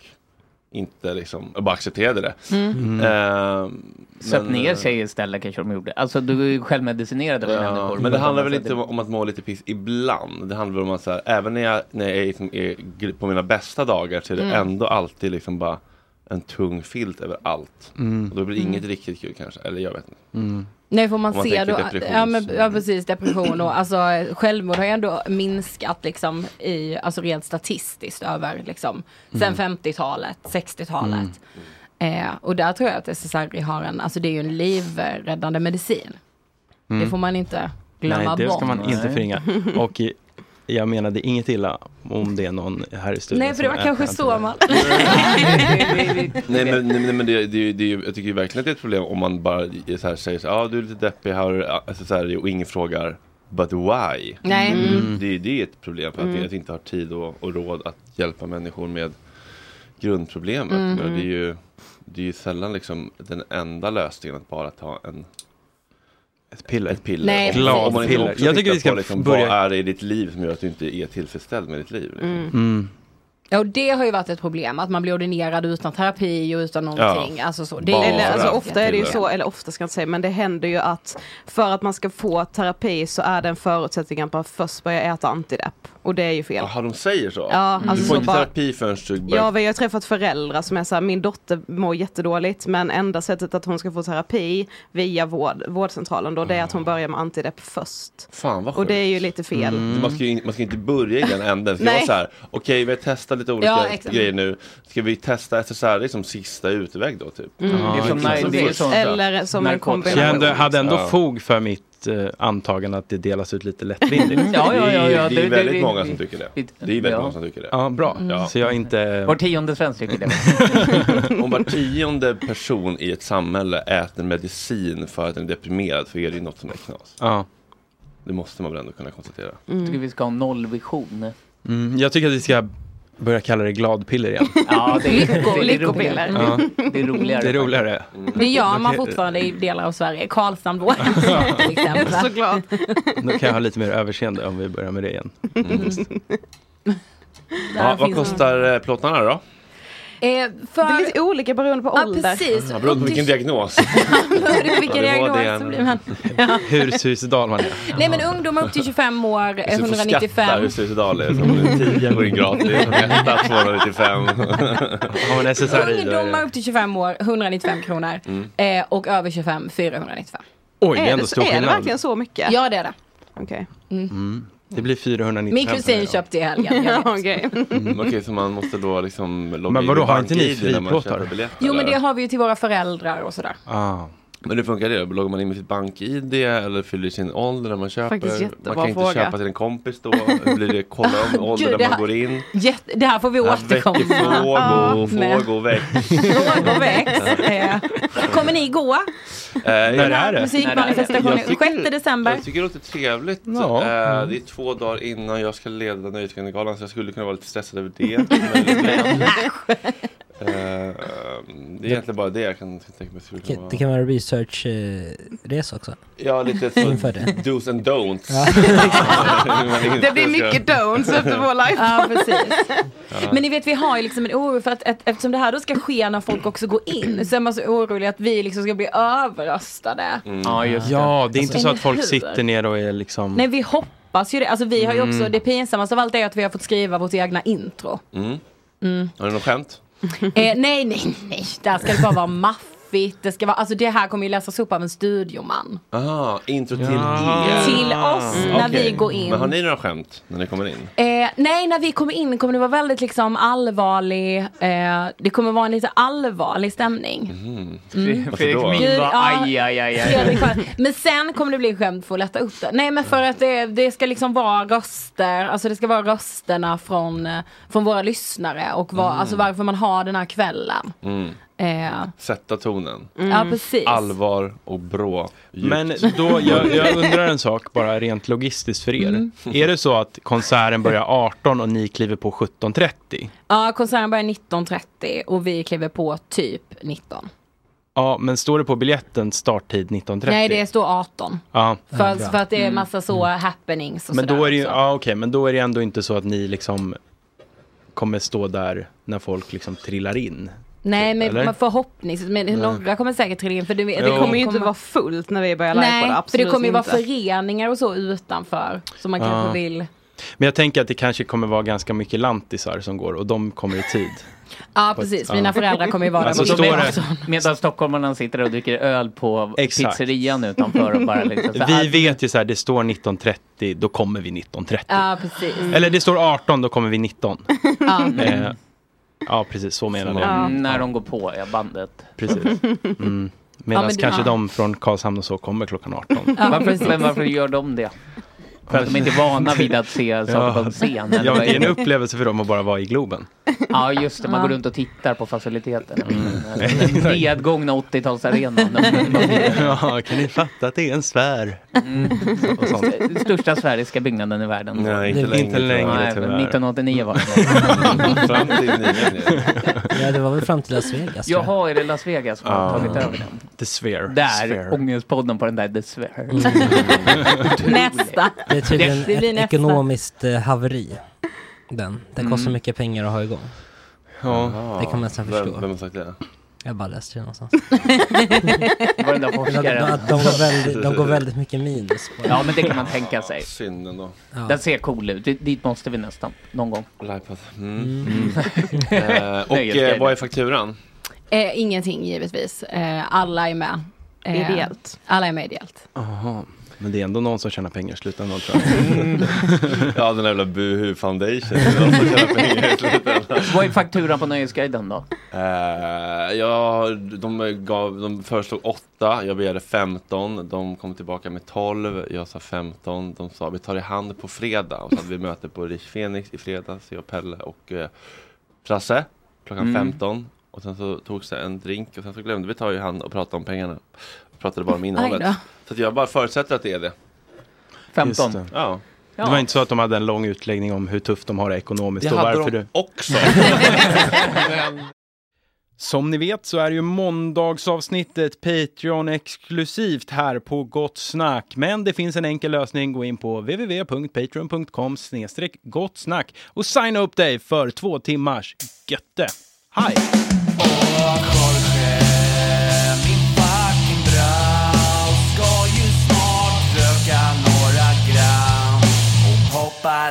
[SPEAKER 1] inte liksom, bara accepterade det. Eh,
[SPEAKER 5] Mm. Mm. Söp
[SPEAKER 1] men- eh,
[SPEAKER 5] ner sig istället kanske de gjorde. Alltså du är ju självmedicinerade väl
[SPEAKER 1] Ja,
[SPEAKER 5] människor.
[SPEAKER 1] men det handlar väl
[SPEAKER 5] Alltså,
[SPEAKER 1] inte om att må lite piss ibland. Det handlar väl om att så här, även när jag, när jag är, liksom, är gr- på mina bästa dagar så är det
[SPEAKER 5] Mm.
[SPEAKER 1] ändå alltid liksom bara en tung filt över allt.
[SPEAKER 2] Mm.
[SPEAKER 1] Och då blir det
[SPEAKER 8] Mm.
[SPEAKER 1] inget riktigt kul kanske. Eller jag vet inte.
[SPEAKER 8] Nej får man,
[SPEAKER 1] Om man
[SPEAKER 8] se
[SPEAKER 1] tänker
[SPEAKER 8] då,
[SPEAKER 1] depressions-
[SPEAKER 8] ja, men, ja precis depression och alltså självmord har ju ändå minskat liksom i, alltså rent statistiskt över liksom sen
[SPEAKER 6] Mm.
[SPEAKER 8] 50-talet, 60-talet. Eh, och där tror jag att SSRI har en, alltså det är ju en livräddande medicin.
[SPEAKER 2] Mm.
[SPEAKER 8] Det får man inte glömma
[SPEAKER 2] Nej,
[SPEAKER 8] bort.
[SPEAKER 2] det ska man inte förringa. Och i- jag menade inget illa om det är någon här i studion
[SPEAKER 8] Nej för det var
[SPEAKER 2] som äter
[SPEAKER 8] kanske
[SPEAKER 2] antidepp.
[SPEAKER 8] så man...
[SPEAKER 1] Nej men, nej, men det, det, är ju- det, är ju- jag tycker ju verkligen att det är ett problem om man bara är så här, säger så här, ah, du är lite deppig, har alltså, så här, och ingen frågar But why?
[SPEAKER 8] Nej. Mm.
[SPEAKER 1] Det, är- det är ett problem för att
[SPEAKER 8] Mm.
[SPEAKER 1] vi att vi inte har tid och, och råd att hjälpa människor med grundproblemet.
[SPEAKER 8] Mm.
[SPEAKER 1] Men Det, är ju, det är ju sällan liksom den enda lösningen att bara ta en
[SPEAKER 2] ett piller.
[SPEAKER 1] Ett piller.
[SPEAKER 8] Nej,
[SPEAKER 1] om,
[SPEAKER 2] precis.
[SPEAKER 1] om man inte
[SPEAKER 2] Glad
[SPEAKER 1] också
[SPEAKER 2] piller. Jag tycker
[SPEAKER 1] tittar
[SPEAKER 2] vi ska
[SPEAKER 1] på liksom,
[SPEAKER 2] börja-
[SPEAKER 1] Vad är det i ditt liv som gör att du inte är tillfredsställd med ditt liv? Liksom?
[SPEAKER 6] Mm.
[SPEAKER 8] Ja och det har ju varit ett problem, att man blir ordinerad utan terapi och utan någonting. Alltså så. Det är ju
[SPEAKER 6] eller,
[SPEAKER 8] ett
[SPEAKER 6] alltså, ofta är det ju
[SPEAKER 8] jätteproblem.
[SPEAKER 6] så, eller ofta ska jag inte säga, men det händer ju att för att man ska få terapi så är det en förutsättning att man först börjar äta antidepp. Och det är ju fel.
[SPEAKER 1] Jaha, de säger så?
[SPEAKER 6] Ja,
[SPEAKER 1] du
[SPEAKER 6] alltså så
[SPEAKER 1] får inte
[SPEAKER 6] bara-
[SPEAKER 1] terapi förrän du börjar
[SPEAKER 6] Ja, vi har ju träffat föräldrar som är så här, min dotter mår jättedåligt men enda sättet att hon ska få terapi via vård, vårdcentralen då det är att hon börjar med antidepp först.
[SPEAKER 1] Fan Mm. vad
[SPEAKER 6] Och det är
[SPEAKER 1] sjukt. Mm.
[SPEAKER 6] ju lite fel.
[SPEAKER 1] Man, ska ju, in- man ska inte börja i den änden. Det ska
[SPEAKER 6] Nej.
[SPEAKER 1] vara så här, okej vi har testat lite olika
[SPEAKER 6] Ja, exakt.
[SPEAKER 1] grejer nu. Ska vi testa SSRI som liksom, sista utväg då typ?
[SPEAKER 6] Mm. Ja, Det är som exakt. nej, det är sånt där. Eller som en kombination.
[SPEAKER 2] Jag hade- hade ändå
[SPEAKER 1] Ja.
[SPEAKER 2] fog för mitt eh, antagande att det delas ut lite lättvindigt.
[SPEAKER 5] Mm, ja, ja, ja, ja,
[SPEAKER 1] Det är ju
[SPEAKER 5] det- det-
[SPEAKER 1] väldigt
[SPEAKER 5] det-
[SPEAKER 1] många
[SPEAKER 5] det-
[SPEAKER 1] som tycker det.
[SPEAKER 5] det-
[SPEAKER 1] Det är ju väldigt
[SPEAKER 5] ja.
[SPEAKER 1] många som tycker det.
[SPEAKER 2] Ja, bra.
[SPEAKER 8] Mm.
[SPEAKER 1] Ja.
[SPEAKER 2] Så jag är inte...
[SPEAKER 5] Var tionde svensk tycker det.
[SPEAKER 6] Mm.
[SPEAKER 1] Om var tionde person i ett samhälle äter medicin för att den är deprimerad så är det ju något som är knas.
[SPEAKER 2] Ja.
[SPEAKER 1] Det måste man väl ändå kunna konstatera.
[SPEAKER 5] Jag tycker vi ska ha en nollvision.
[SPEAKER 2] Mm, jag tycker att vi ska börja kalla det gladpiller igen.
[SPEAKER 5] Ja, det är- Lycko- det är
[SPEAKER 8] lyckopiller.
[SPEAKER 2] Ja.
[SPEAKER 5] Det är roligare.
[SPEAKER 2] Det är roligare.
[SPEAKER 8] Det gör man
[SPEAKER 2] Okej.
[SPEAKER 8] fortfarande i delar av Sverige. Karlshamn då. till exempel.
[SPEAKER 6] Såklart.
[SPEAKER 2] Då kan jag ha lite mer överseende om vi börjar med det igen.
[SPEAKER 1] Ja, vad
[SPEAKER 6] finns-
[SPEAKER 1] kostar eh, plåtarna då?
[SPEAKER 8] för...
[SPEAKER 6] Det är lite olika beroende på ålder.
[SPEAKER 8] Ja, precis.
[SPEAKER 1] Ja, beroende på vilken diagnos.
[SPEAKER 8] Beroende på vilken
[SPEAKER 1] Det var det
[SPEAKER 8] diagnos
[SPEAKER 1] han-
[SPEAKER 8] så blir man.
[SPEAKER 2] Hur suicidal man är.
[SPEAKER 8] Nej men ungdomar upp till 25 år, eh,
[SPEAKER 1] Så du får skatta
[SPEAKER 8] 195.
[SPEAKER 1] hur suicidal det är. Så om du är 10 går in gratis, om du är etta 295.
[SPEAKER 2] Har man SSRI
[SPEAKER 8] Ungdomar upp till 25 år, 195 kronor.
[SPEAKER 1] Mm.
[SPEAKER 8] Eh, och över 25, 495.
[SPEAKER 2] Oj, det är Är ändå det- stor är det skillnad. verkligen
[SPEAKER 8] så mycket? Ja, det är det. Okay. Mm.
[SPEAKER 2] Mm. Det blir 495.
[SPEAKER 8] Min kusin köpte i helgen. jag vet.
[SPEAKER 1] Mm, Okej, så man måste då liksom logga
[SPEAKER 2] Men
[SPEAKER 1] in
[SPEAKER 2] vadå,
[SPEAKER 1] i
[SPEAKER 2] har inte ni
[SPEAKER 1] BankID när man
[SPEAKER 2] friplåtar?
[SPEAKER 1] köper biljetter,
[SPEAKER 8] Jo, men
[SPEAKER 1] eller?
[SPEAKER 8] det har vi ju till våra föräldrar och sådär.
[SPEAKER 2] Ah.
[SPEAKER 1] Men hur funkar det? Loggar man in med sitt bank-id eller fyller sin ålder när man köper?
[SPEAKER 8] Faktiskt jättebra
[SPEAKER 1] man kan inte
[SPEAKER 8] fråga.
[SPEAKER 1] köpa till en kompis då? Blir det kolla om ålder
[SPEAKER 8] Gud,
[SPEAKER 1] när
[SPEAKER 8] det
[SPEAKER 1] man
[SPEAKER 8] här- Ah,
[SPEAKER 1] går in?
[SPEAKER 8] Jätte, det här får vi
[SPEAKER 1] Ja,
[SPEAKER 8] återkomma
[SPEAKER 1] väcker
[SPEAKER 8] Ja,
[SPEAKER 1] Frågor,
[SPEAKER 8] med.
[SPEAKER 1] frågor väcks.
[SPEAKER 8] Frågor väcks. Eh, Kommer ni gå?
[SPEAKER 1] När
[SPEAKER 8] är det? Musikmanifestationen, 6 december.
[SPEAKER 1] Eh, Jag tycker det låter trevligt.
[SPEAKER 8] Ja.
[SPEAKER 9] Mm.
[SPEAKER 1] Eh, det är två dagar innan jag ska leda Nöjesguidegalan så jag skulle kunna vara lite stressad över det. Men- Eh, det är egentligen bara det jag kan tänka mig. skulle
[SPEAKER 9] Det
[SPEAKER 1] kunna
[SPEAKER 9] kan-
[SPEAKER 1] vara.
[SPEAKER 9] Det kan vara en researchresa också.
[SPEAKER 1] Ja, lite så
[SPEAKER 9] Inför det.
[SPEAKER 1] do's and don'ts.
[SPEAKER 9] Ja.
[SPEAKER 6] Det blir mycket don'ts efter vår life.
[SPEAKER 8] Ja, precis.
[SPEAKER 1] Ja.
[SPEAKER 8] Men ni vet vi har ju liksom en oro för att, att eftersom det här då ska ske när folk också går in så är man så orolig att vi liksom ska bli överröstade.
[SPEAKER 2] Ja, det. Ja, det är inte
[SPEAKER 8] Alltså,
[SPEAKER 2] så att folk
[SPEAKER 8] eller hur?
[SPEAKER 2] sitter ner och är liksom...
[SPEAKER 8] Nej vi hoppas ju det. Alltså vi har ju också,
[SPEAKER 2] Mm.
[SPEAKER 8] det pinsammaste av allt är att vi har fått skriva vårt egna intro.
[SPEAKER 1] Mm.
[SPEAKER 8] Mm.
[SPEAKER 1] Har du något skämt?
[SPEAKER 8] eh, nej nej nej, där ska det bara vara maffigt. Det ska vara, alltså det här kommer ju läsas upp av en studioman.
[SPEAKER 1] Aha, intro till er.
[SPEAKER 8] Till oss när
[SPEAKER 1] Mm. Okej.
[SPEAKER 8] vi går in.
[SPEAKER 1] Men har ni några skämt när ni kommer in?
[SPEAKER 8] Eh, nej, när vi kommer in kommer det vara väldigt liksom allvarlig, eh, det kommer vara en lite allvarlig stämning. Mm.
[SPEAKER 1] Varför
[SPEAKER 5] Fredrik
[SPEAKER 1] då?
[SPEAKER 5] Min
[SPEAKER 8] Gud,
[SPEAKER 5] var
[SPEAKER 8] ja.
[SPEAKER 5] aj, aj, aj, aj.
[SPEAKER 8] Fredrik har- Men sen kommer det bli skämt för att lätta upp det. Nej men för att det, det ska liksom vara röster, alltså det ska vara rösterna från, eh, från våra lyssnare och vad,
[SPEAKER 2] Mm.
[SPEAKER 8] alltså varför man har den här kvällen.
[SPEAKER 1] Mm.
[SPEAKER 8] Eh,
[SPEAKER 1] Sätta tonen.
[SPEAKER 8] Mm. Ja, precis.
[SPEAKER 1] Allvar och brå. djupt.
[SPEAKER 2] Men då, jag, jag undrar en sak bara rent logistiskt för er.
[SPEAKER 8] Mm.
[SPEAKER 2] Är det så att konserten börjar 18 och ni kliver på 17.30?
[SPEAKER 8] ja, konserten börjar 19.30 och vi kliver på typ 19.
[SPEAKER 2] Ja, men står det på biljetten starttid 19.30?
[SPEAKER 8] Nej det står 18.
[SPEAKER 2] Ja. Mm.
[SPEAKER 8] För, för att det är massa så happenings och
[SPEAKER 2] Men
[SPEAKER 8] sådär
[SPEAKER 2] då är det ju,
[SPEAKER 8] också.
[SPEAKER 2] ja, okej, men då är det ändå inte så att ni liksom kommer stå där när folk liksom trillar in.
[SPEAKER 8] Nej men
[SPEAKER 2] eller?
[SPEAKER 8] man förhoppningsvis, men
[SPEAKER 2] Nej.
[SPEAKER 8] några kommer säkert trilla in för det, det
[SPEAKER 2] Jo.
[SPEAKER 6] kommer ju inte vara fullt när vi börjar live på det,
[SPEAKER 8] Nej, för det
[SPEAKER 6] absolut
[SPEAKER 8] kommer ju vara
[SPEAKER 6] inte.
[SPEAKER 8] föreningar och så utanför som man
[SPEAKER 2] Ja.
[SPEAKER 8] kanske vill.
[SPEAKER 2] Men jag tänker att det kanske kommer vara ganska mycket lantisar som går och de kommer i tid.
[SPEAKER 8] Ja
[SPEAKER 2] På ett-
[SPEAKER 8] precis,
[SPEAKER 2] ja.
[SPEAKER 8] mina föräldrar kommer ju vara
[SPEAKER 2] Alltså,
[SPEAKER 8] där. på
[SPEAKER 2] står
[SPEAKER 8] kvällen.
[SPEAKER 2] det-
[SPEAKER 5] Medan stockholmarna sitter och dricker öl på
[SPEAKER 2] Exakt.
[SPEAKER 5] pizzerian utanför och bara liksom så
[SPEAKER 2] Vi
[SPEAKER 5] här.
[SPEAKER 2] vet ju så här, det står 19.30, då kommer vi 19.30.
[SPEAKER 8] Ja precis.
[SPEAKER 2] Eller det står 18, då kommer vi 19.
[SPEAKER 8] Ja.
[SPEAKER 2] Eh, ja, precis, så menar jag.
[SPEAKER 5] Mm, När de går på ja, bandet.
[SPEAKER 2] Precis. Mm. Medan
[SPEAKER 5] Ja, men det-
[SPEAKER 2] kanske
[SPEAKER 5] ja.
[SPEAKER 2] de från Karlshamn och så kommer klockan 18.
[SPEAKER 5] Ja, Varför- precis. men varför gör de det? För att de inte är vana vid att se saker på en scen, eller
[SPEAKER 2] Ja,
[SPEAKER 5] vad
[SPEAKER 2] men det är
[SPEAKER 5] är
[SPEAKER 2] en
[SPEAKER 5] det?
[SPEAKER 2] upplevelse för dem att bara vara i Globen.
[SPEAKER 5] Ja just det, man
[SPEAKER 2] Ja.
[SPEAKER 5] går runt och tittar på faciliteterna.
[SPEAKER 2] Mm.
[SPEAKER 5] Den nedgångna 80-talsarenan.
[SPEAKER 2] ja, kan ni fatta att det är en sfär? Och sånt.
[SPEAKER 5] Största sfäriska byggnaden i världen.
[SPEAKER 2] Nej, inte längre, Inte längre,
[SPEAKER 5] Nej,
[SPEAKER 2] tyvärr.
[SPEAKER 5] 1989 var det.
[SPEAKER 1] Fram till
[SPEAKER 9] Ja, det var väl fram till Las Vegas. tror jag.
[SPEAKER 5] Jaha, är det Las Vegas som har tagit över den?
[SPEAKER 2] The Sphere.
[SPEAKER 5] Där,
[SPEAKER 9] Sphere.
[SPEAKER 5] ångestpodden på den där The Sphere.
[SPEAKER 2] Mm.
[SPEAKER 8] Nästa.
[SPEAKER 9] Det är tydligen
[SPEAKER 8] Det blir
[SPEAKER 9] ett
[SPEAKER 8] nästa.
[SPEAKER 9] ekonomiskt eh, haveri. Den. Det kostar
[SPEAKER 1] Mm.
[SPEAKER 9] mycket pengar att ha igång. Det kan man nästan
[SPEAKER 1] Vem-
[SPEAKER 9] förstå.
[SPEAKER 1] Vem har sagt det?
[SPEAKER 9] Jag bara läste det någonstans.
[SPEAKER 5] Var den där forskaren?
[SPEAKER 9] Att de, går väldigt, de går väldigt mycket minus. på
[SPEAKER 5] Ja, men det kan man tänka sig.
[SPEAKER 1] Synd ändå.
[SPEAKER 9] Ja.
[SPEAKER 5] Den ser cool ut. Dit- Dit måste vi nästan, någon gång.
[SPEAKER 1] Lipad.
[SPEAKER 5] Mm.
[SPEAKER 1] Eh, och
[SPEAKER 5] Nöjesguiden.
[SPEAKER 1] eh, vad är fakturan?
[SPEAKER 8] Eh, ingenting givetvis. Eh, alla är med. Eh,
[SPEAKER 6] Ideellt.
[SPEAKER 8] Alla är med ideellt.
[SPEAKER 2] Jaha, men det är ändå någon som tjänar pengar i slutändan tror
[SPEAKER 1] jag. ja, den där jävla Buhu Foundation. Det är de som tjänar pengar i slutändan.
[SPEAKER 5] Vad är fakturan på Nöjesguiden då?
[SPEAKER 1] Eh, ja, de, gav, de föreslog 8, jag begärde 15, de kom tillbaka med 12, jag sa 15, de sa vi tar i hand på fredag. Och så hade vi möte på Rich Fenix i fredags, jag, Pelle och eh, Frasse klockan
[SPEAKER 2] Mm.
[SPEAKER 1] 15. Och sen så togs det en drink och sen så glömde vi ta i hand och prata om pengarna. Pratade bara om
[SPEAKER 2] Aj då.
[SPEAKER 1] innehållet. Så att jag bara förutsätter att det är det.
[SPEAKER 2] 15.
[SPEAKER 1] Just det. Ja.
[SPEAKER 2] Det var inte så att de hade en lång utläggning om hur tufft de har det ekonomiskt
[SPEAKER 1] Det
[SPEAKER 2] och
[SPEAKER 1] hade
[SPEAKER 2] varför
[SPEAKER 1] de
[SPEAKER 2] du...
[SPEAKER 1] också.
[SPEAKER 2] Som ni vet så är ju måndagsavsnittet Patreon exklusivt här på Gott Snack. Men det finns en enkel lösning. Gå in på www.patreon.com gottsnack och signa upp dig för två timmars götte. Hi!
[SPEAKER 10] Hoppa